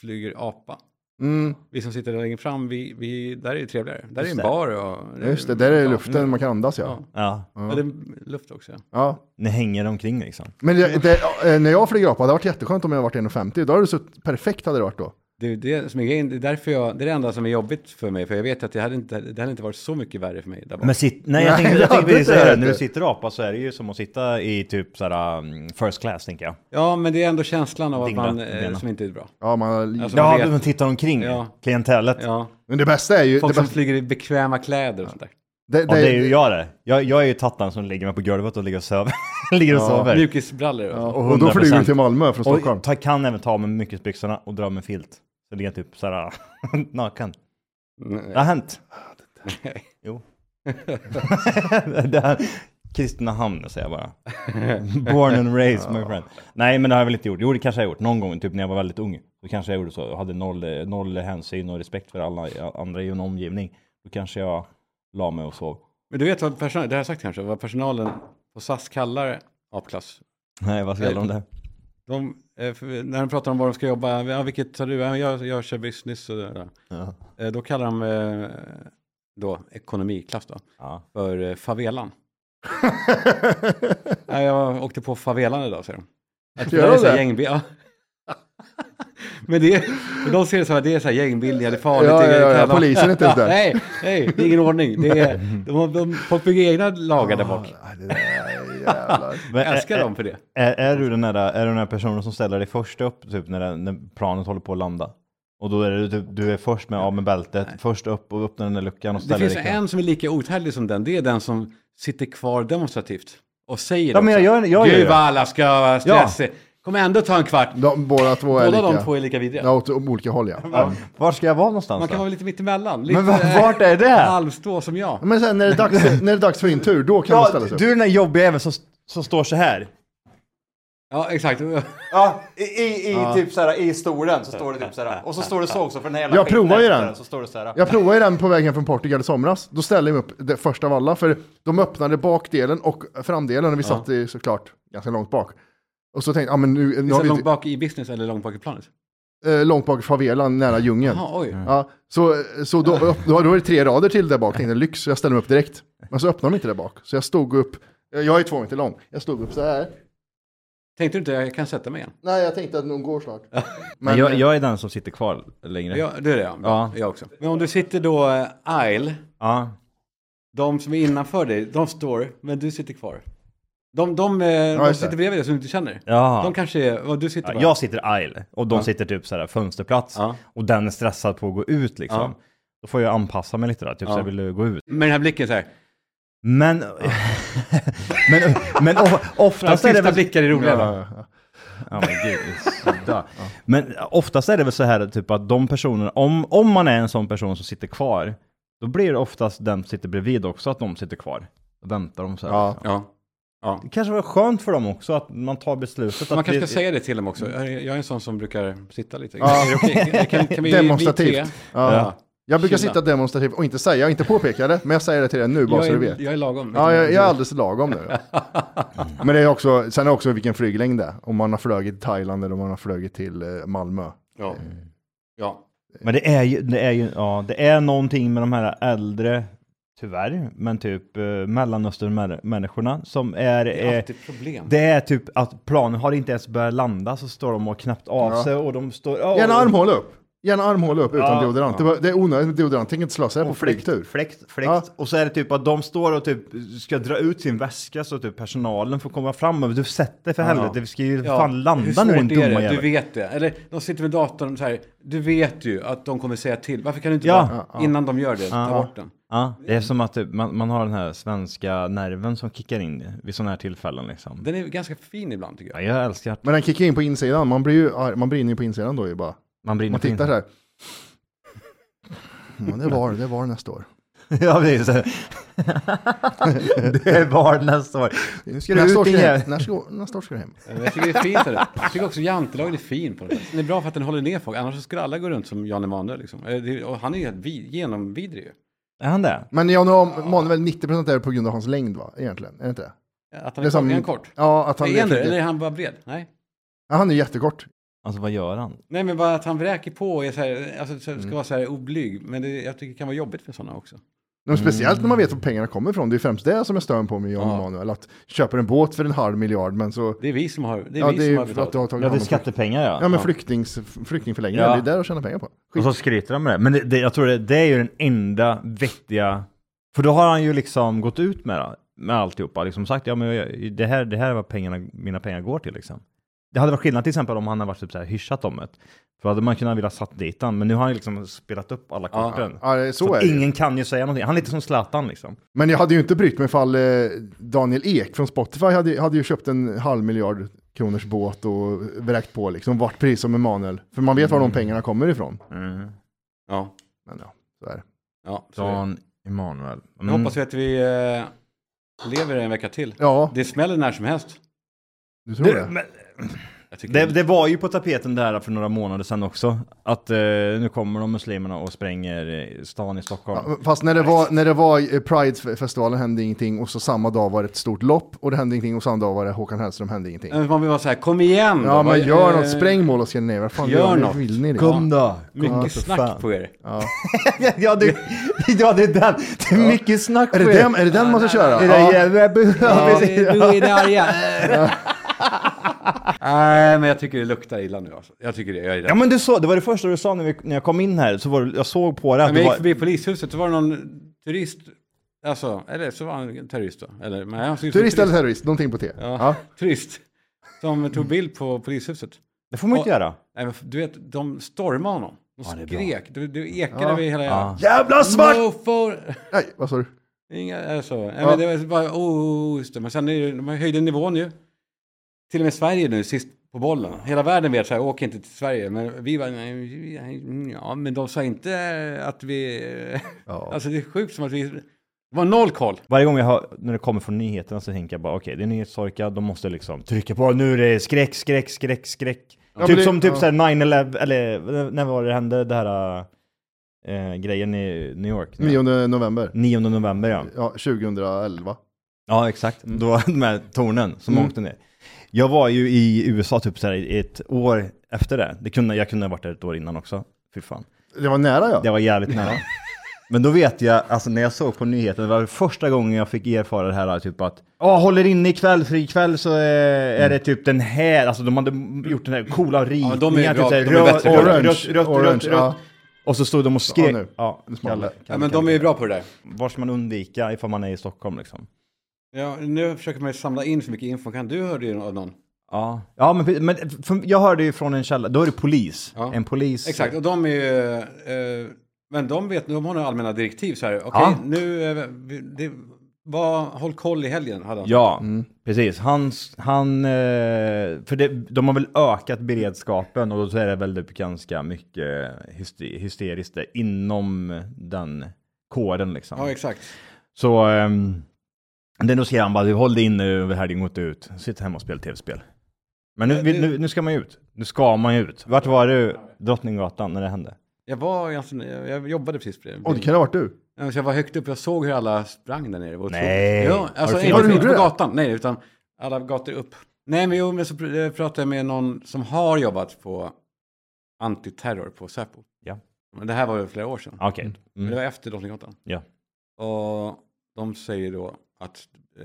flyger apa.
Mm,
Vi som sitter där längre fram, vi, vi, där är det trevligare. Där
Just
är en
det.
bar och...
just det, där är
Ja.
luften man kan andas ja.
Ja.
Ja,
Ja, det är luft också. ja.
ja.
ni hänger omkring liksom.
Men det, det, eh, när jag flyger apa, det hade varit jätteskönt om jag varit 1,50. Då hade det suttit perfekt hade det varit då.
Det är det som är grejen. Det är därför jag, det är det enda som är jobbigt för mig. För jag vet att det hade inte, det hade inte varit så mycket värre för mig där bak.
Men sitt, nej, jag
Nej,
tänkte, jag
ja,
tänkte
det
precis
är
säga det,
det.
när du sitter apa så är det ju som att sitta i typ så här um, first class tänker jag.
Ja, men det är ändå känslan av att
Dingla
man,
benen.
eh, som inte är bra.
Ja, man,
Alltså, man
Ja,
vet-
man tittar omkring,
Ja.
klientellet.
Ja,
men det bästa är ju...
folk
Det
som
bästa,
flyger i bekväma kläder och sånt där.
det,
Ja,
det,
det är ju jag det. Jag, jag är ju tattan som lägger mig på golvet och ligger och sover. <laughs> ligger och sover.
Mjukisbrallor och
ja,
sånt.
och, då flyger du
100%.
till Malmö från Stockholm.
Och ta, kan även ta av mig mjukisbyxorna och dra med filt. Så ligger jag typ såhär <laughs> naken.
Mm,
Det har hänt.
nej.
Jo. <laughs> det här, Kristinehamn säger jag <laughs> bara. Born and raised my friend. Nej men det har jag väl inte gjort. Jo det kanske jag har gjort någon gång, typ när jag var väldigt ung. Då kanske jag gjorde så. Jag hade noll, eh, noll hänsyn och respekt för alla andra i en omgivning. Då kanske jag la mig och sov.
<laughs> Men du vet vad personalen, det har jag sagt kanske, vad personalen på SAS kallar apklass.
Nej vad ska jag göra om det?
De, eh, för, när de pratar om var de ska jobba, ja, vilket tar du? Ja, jag, jag kör business och det där.
Ja.
Eh, Då kallar de eh, då ekonomiklass då,
Ja.
för eh,
<laughs>
favelan. Nej, jag åkte på favelan idag säger de. Att
Gör
det är
de
så här
det?
gängbil- ja. <laughs> Men det är, för de ser det som att det är så här gängbildningar, det är
Ja,
farligt.
ja,
det är
ja, ja,
tävlan.
polisen är inte ens där.
Nej, nej, det är ingen ordning. Det är, de, har- de, folk bygger egna lagar där bak.
Ja, det där är jävlar.
Men,
Jag älskar
eh,
dem för det.
Är, är, du den där, är du den där personen som ställer dig först upp typ, när, den, när planet håller på att landa? Och då är det, du, du är först med av med bältet, först upp och öppnar den där luckan och
Det
ställer
finns
dig kvar.
en som är lika outhärdlig som den, det är den som sitter kvar demonstrativt och säger
Ja, men jag
också,
gör- jag gör
Gud
det."
vad alla ska vara stressig. Kommer ändå ta en kvart.
De båda två är
Båda de
lika.
två är lika vidriga.
Ja, åt, åt olika håll ja.
Ja. Var ska jag vara någonstans
Man kan
då?
vara lite mittemellan. Lite, eh,
Men va- vart är det?
Halvstå som jag.
Men sen när det är dags,
<laughs>
när det är dags för din tur, då kan man
Ja,
ställa sig
du
upp.
är den där jobbiga även som, som står så här.
Ja, exakt.
Ja, i, i, i, Typ så här, i stolen så står det typ så här. Och så står det så också för den här jävla
Jag
skiten
provar ju
efter
den.
Så står det så här.
Jag provade ju den på vägen från Portugal i somras. Då ställde jag mig upp det första av alla, för de öppnade bakdelen och framdelen och vi satt i, såklart ganska långt bak. Och så tänkte jag, ah, men nu, nu har
Visst,
vi
långt
inte,
bak i business eller långt bak i planet?
eh, långt bak i favelan nära djungeln.
Jaha, oj.
Mm.
Ja, så så då, upp- då, då är det tre rader till där bak, tänkte jag, lyx, så jag ställde mig upp direkt. Men så öppnade de inte där bak, så jag stod upp, jag är två meter lång, jag stod upp så här.
Tänkte du inte jag kan sätta mig igen?
Nej, jag tänkte att de går snart.
Men jag, jag är den som sitter kvar längre. Ja.
Ja, det är det ja.
Ja.
Jag också. Men om du sitter då eh, aisle, de som är innanför dig, de står, men du sitter kvar. De, de, eh, de
just det.
sitter bredvid dig som du inte känner.
Ja.
De kanske är, och du sitter
Ja,
bara.
jag sitter aisle och de sitter typ så här fönsterplats
Ja.
och den är stressad på att gå ut liksom. Då får jag anpassa mig lite där, typ så här, vill du gå ut?
Med den här blicken så här.
Men, <laughs> men, men of- oftast är det
Sista
väl...
blickar är roliga. va?
Ja, ja,
Ja, men gud, sluta. Men oftast är det väl så här typ att de personerna, om, om man är en sån person som sitter kvar, då blir det oftast den som sitter bredvid också att de sitter kvar. Och väntar de så här.
Ja.
liksom.
Ja. ja.
Det kanske var skönt för dem också att man tar beslutet
Man
att
kanske
det-
ska säga det till dem också. Jag är jag är en sån som brukar sitta lite.
Ja.
Är <laughs> det okej? Kan, kan vi,
Demonstrativt.
Vi tre?
ja.
Ja.
Jag brukar
Chilla.
sitta demonstrativt och inte säga, inte påpeka det, men jag säger det till dig nu bara
Jag
så du
är,
vet.
jag är lagom.
Ja, jag, jag är alldeles lagom nu. Men det är också, sen är det också vilken flyglängd det är. Om man har flugit till Thailand eller om man har flugit till eh, Malmö.
Ja. ja.
Men det är ju, det är ju, ja, det är någonting med de här äldre, tyvärr, men typ eh, Mellanöstern-människorna som är...
Det är
eh,
alltid problem.
det är typ att planen har inte ens börjat landa så står de och knäppt av
Ja.
sig och de står...
Ge en armhåla upp! Ge en armhåla upp utan
Ja.
deodorant. Det, var, det är onödigt med deodorant, tänk inte slösa det på
och fläkt,
flygtur.
fläkt, fläkt.
Ja.
Och så är det typ att de står och typ ska dra ut sin väska så typ personalen får komma fram och du sätter för helvete, vi ska ju
Ja.
fan
Hur
landa
svårt
nu din
är
dumma
det? Du
jävel.
vet det. Eller de sitter med datorn så här. Du vet ju att de kommer säga till. Varför kan du inte
Ja.
bara, innan de gör det, ta bort den?
Ja, det är som att typ, man, man har den här svenska nerven som kickar in vid sådana här tillfällen liksom.
Den är ganska fin ibland tycker
Ja,
jag.
jag älskar att
Men den kickar in på insidan, man, blir ju, arg- man brinner ju på insidan då ju bara.
man brinner
Man
för
tittar så här. Men det var det, var nästa år.
<laughs>
<laughs>
Ja, precis. det är var nästa år. Nu ska du
Nästa år
ut
ska, du
igen.
hem. nästa, år- nästa år ska du hem.
Jag tycker det är fint. Eller? Jag tycker också jantelagen är fin på det sättet. Den är bra för att den håller ner folk. Annars så skulle alla gå runt som Jan Emanuel. Liksom. Eh, det- Och han är ju helt vid, genomvidrig ju.
Är han det?
Men jag har Manuel 90% är det på grund av hans längd va? Egentligen, är det inte det?
Att
Det
han är,
som-
kort, är han kort?
Ja, att han
är han det?
är,
Eller är han bara bred? Nej.
ja, han är jättekort.
Alltså vad gör han?
Nej, men bara att han vräker på och är så här, alltså, så- ska
Mm.
vara så här oblyg. Men det, jag tycker det kan vara jobbigt för sådana också.
Men
Mm.
speciellt när man vet var pengarna kommer ifrån. Det är främst det som jag stör mig på med Jan
Ja.
Emanuel. Att köper en båt för en halv miljard men så...
Det är vi som har, det är
Ja,
vi
det
som
är
har
ju för att
betalt.
du har tagit
Ja, det är
hand om folk.
skattepengar ja.
Ja, men flyktings, flyktingförläggningar,
Ja.
det är där de tjänar pengar på.
Och så skryter han med det. Men det, det, jag tror det, det är ju den enda vettiga... För då har han ju liksom gått ut med, det- med alltihopa. Liksom sagt, ja men jag, det, här, det här är vad pengarna, mina pengar går till liksom. Det hade varit skillnad till exempel om han hade varit typ så här hyschat om det. För då hade man kunnat vilja satt dit han. Men nu har han ju liksom spelat upp alla
Ja,
korten.
Ja, det- så,
Så
är
att
det ju.
ingen kan ju säga någonting. Han är lite som Zlatan liksom.
Men jag hade ju inte brytt mig ifall eh, Daniel Ek från Spotify hade, hade ju köpt en halv miljard kronors båt och vräkt på liksom, vart precis som Emanuel. För man vet var de pengarna kommer ifrån.
Ja,
Men ja, så är det.
ja. Så är det.
Dan Emanuel.
Nu hoppas vi att vi eh, lever en vecka till.
Ja,
Det smäller när som helst.
du tror
Det,
det?
men,
Jag tycker
det, det var ju på tapeten där för några månader sedan också. Att eh, nu kommer de muslimerna och spränger eh, stan i Stockholm.
Ja, Fast när det var, när det var eh, Pride-festivalen hände ingenting och så samma dag var det ett stort lopp och det hände ingenting och samma dag var det Håkan Hellström hände ingenting.
Men Man vill vara så här, kom igen då.
Ja men
Vad-
gör
Mm. eh,
något, spräng mål och Scandinavia, vad fan
Gör
gör
något.
ni? Vill ni det?
Kom då!
Mycket snack på er.
<laughs> ja, det, ja, det är den. Det är mycket snack
Är det den, är det den man ska köra?
Det
Ja.
där jävla bu-
Ja,
ja, precis.
du är det arga. Nej, men jag tycker det luktar illa nu alltså. Jag tycker det, jag är rädd.
ja, men du sa, det var det första du sa när, vi, när jag kom in här, så var det, jag såg på det att
Men jag
det
gick
var...
förbi polishuset, så var det någon turist, alltså, eller så var han en terrorist då. Eller, men han såg ut som
Turist
en
eller terrorist, någonting på T.
Ja, turist. Som tog bild på polishuset.
Det får man inte
Ja.
göra.
Nej, men du vet, de stormade honom. De
det är bra.
skrek. Du, du ekade
Ja.
över hela...
Ja.
Jävla
No for...
Nej, vad sa du?
Inga, alltså, nej, men det var bara... Oh, oh, oh, just det. Men sen är det, de har höjde nivån ju. Till och med Sverige nu, sist på bollen. Hela världen vet så här, åk inte till Sverige. Men vi var ja, men de sa inte att vi... <laughs> Alltså det är sjukt som att vi... Det var noll koll.
Varje gång jag hör, när det kommer från nyheterna så tänker jag bara okej, det är nyhetstorka, de måste liksom trycka på, nu är det skräck, skräck, skräck, skräck.
men
typ
det-
som typ
ja.
såhär 9-11, eller när var det hände, det här eh, grejen i New York?
9 november.
9 november ja.
Ja, 2011.
Ja, exakt.
Mm.
Då, de här tornen som
Mm.
åkte ner. Jag var ju i USA typ så här i ett år efter det. det kunde, jag kunde ha varit där ett år innan också. Fy fan.
Det var nära ja.
Det var jävligt nära. Men då vet jag, alltså när jag såg på nyheten, det var första gången jag fick erfara det här, typ att ja, håller inne ikväll, för ikväll så är, är det typ den här, alltså de hade gjort den här coola ritningen,
de är
typ
bra,
så här,
de är bättre.
rött,
Orange,
rött, rött, rött,
orange,
rött.
ja.
Och så stod de och
Ja,
skrev.
nu.
Ja,
Det är smart.
Kalle,
Ja,
Kalle,
men de är
Kalle.
ju bra på det där.
Var ska man undvika ifall man är i Stockholm liksom?
Ja, nu försöker man ju samla in så mycket info. Kan du höra det av någon?
Ja, ja men, pre- men för, jag hörde ju från en källa, då är det polis.
Ja.
En polis.
Exakt, och de är ju... Eh, men de, vet, de har några allmänna direktiv så här. Okej,
Ja.
nu... Eh, vi- det, var, håll koll i helgen, hade han.
Ja, precis. Han, han, eh, för det, de har väl ökat beredskapen och då så är det väl typ ganska mycket hyste- hysteriskt där inom den kåren liksom.
Ja, exakt.
så ehm, det då ser han bara, du håll dig inne över helgen, gå inte ut. Sitt hemma och spela tv-spel. Men nu,
Ja, det-
nu, nu ska man ju ut. Nu ska man ju ut. Vart var du Drottninggatan när det hände?
Jag var ganska... Jag jobbade precis bredvid.
Och det kan ha varit du.
Ja, så jag var högt upp, jag såg hur alla sprang där nere. Det var otroligt.
Nej.
Ja,
Har du
alltså,
filmat?
inte,
Har du
inte på
gjort det?
gatan, nej, utan alla gator upp. Nej, men jo, men så pr- eh, pratade jag med någon som har jobbat på antiterror på Säpo.
Ja.
Men det här var ju flera år sedan.
Okej.
Men
Mm.
det var efter Drottninggatan.
Ja.
Och de säger då att eh,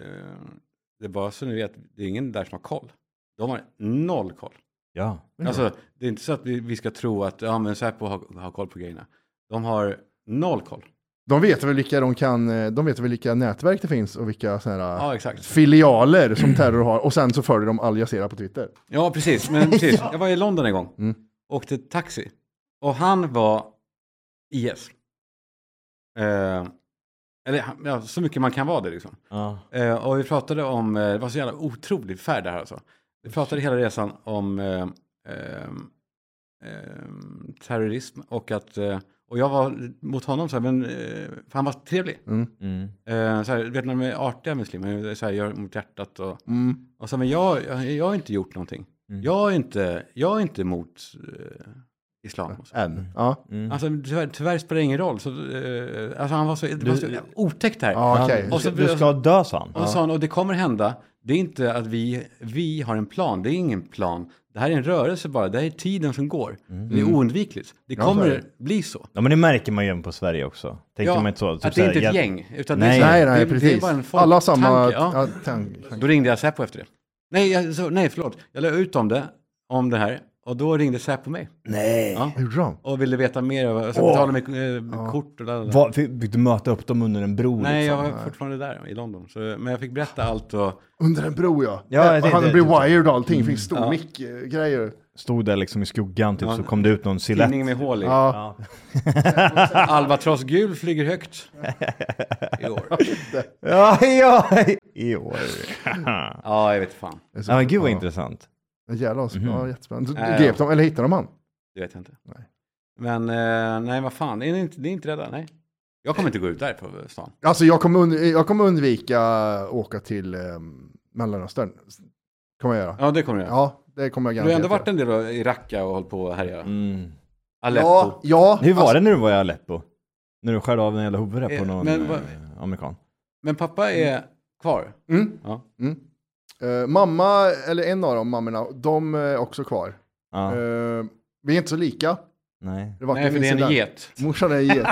det är bara så ni vet, det är ingen där som har koll. De har noll koll.
Ja.
Alltså, det är inte så att vi, vi ska tro att ja, men Säpo har, har koll på grejerna. De har noll koll.
De vet väl vilka de kan, eh, de vet väl vilka nätverk det finns och vilka såna här eh,
Ja, exakt.
filialer som terror har. Och sen så följer de Al Jazeera på Twitter.
Ja, precis. <laughs> Men precis. Jag var i London en gång.
Mm.
Åkte taxi. Och han var IS. Eh, eller han- ja, så mycket man kan vara det liksom.
Ja.
Eh, och vi pratade om, eh, det var så jävla otrolig färd det här alltså. Vi pratade hela resan om eh, ehm, ehm, terrorism och att, eh, och jag var mot honom så här, men, eh, för han var trevlig.
Mm.
Eh, så här, vet ni, de är artiga muslimer, så här, gör mot hjärtat och
Mm.
och så, men jag, jag, jag har inte gjort någonting.
Mm.
Jag, är inte, jag är inte emot eh, islam. Och så.
Än. Ja.
Mm.
Alltså, tyvärr, tyvärr spelar det ingen roll. Så, eh, alltså, han var så, det var så otäckt här.
Ja, okej.
Och så-
Du ska dö, sa han.
Och, så sa han, och det kommer hända. Det är inte att vi, vi har en plan. Det är ingen plan. Det här är en rörelse bara. Det här är tiden som går.
Mm.
Det är oundvikligt. Det kommer
så är
bli så.
Ja men det märker man ju även på Sverige också. Tänkte man inte så? Typ
att det är
så här,
inte ett
hjälp-
gäng. Utan
Nej.
det är, så här,
Nej, nej,
det,
precis.
Det är bara en
Alla har samma...
folktanke, ja.
ja, tank-
Då ringde jag Säpo efter det. Nej, jag, så, nej förlåt. Jag la ut om det, om det här. Och då ringde Säpo mig.
Nej!
Ja.
Hur gjorde de?
Och ville veta mer. Och så betalade med eh, kort och lalala.
Vad, fick fick du möta upp dem under en bro
Nej, jag
liksom?
var fortfarande där i London. Så, men jag fick berätta allt och...
Under en bro ja.
Ja, jag
Eh,
tänkte-
han blev wired och allting, fick eh, stor mick-grejer.
Stod där liksom i skuggan typ,
Ja.
så kom det ut någon
Tidning
silhuett.
med hål i.
Ja. <laughs>
Albatross gul flyger
<laughs>
högt. I år.
Ja, ja!
<laughs>
I år.
Ja, jag vet fan.
Det är så-
Ja men gud vad
ja.
intressant.
Jävlar, så- ja, jättespännande. Så
Äh,
Grep de, eller hittade de han?
Det vet jag inte.
Nej.
Men eh, nej, vad fan. Är ni inte, ni är inte rädda? Nej. Jag kommer inte gå ut där på stan.
Alltså jag kommer, und- jag kommer undvika åka till eh, Mellanöstern. Kommer jag göra.
Ja, det kommer jag.
Ja, det kommer jag
du har
garanterat
ändå varit
göra.
en del då i Raqqa och hållit på och härjat.
Mm.
Aleppo.
Ja, ja.
Hur var
alltså,
det när du var i Aleppo? När du skär av en jävla huvud där på
Eh,
någon
men vad-
eh, amerikan?
Men pappa är kvar.
Mm.
Ja.
eh, mamma, eller en av dem, mammorna, de är också kvar.
Ja,
Eh, vi är inte så lika.
nej.
Det var
Nej, för det är en
incident.
get.
Morsan är en get.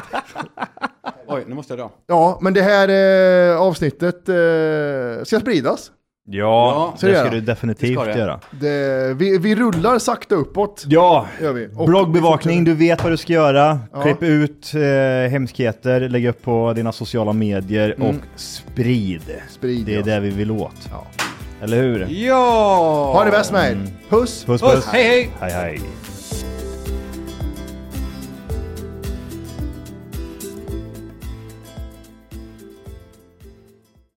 <laughs>
Oj, nu måste jag dra.
Ja, men det här eh, avsnittet eh, ska spridas.
Ja,
så
det
gör
ska
jag.
du definitivt
Det ska jag.
göra.
Det, vi, vi rullar sakta uppåt.
Ja,
Gör vi. Och-
bloggbevakning, du vet vad du ska göra. Klipp ut eh, hemskheter, lägg upp på dina sociala medier och sprid.
Sprid,
Det är
ja.
det vi vill åt. Eller hur?
Ja!
Ha det bäst med er. Puss!
Mm.
Puss puss!
Puss, hej hej!
Hej hej!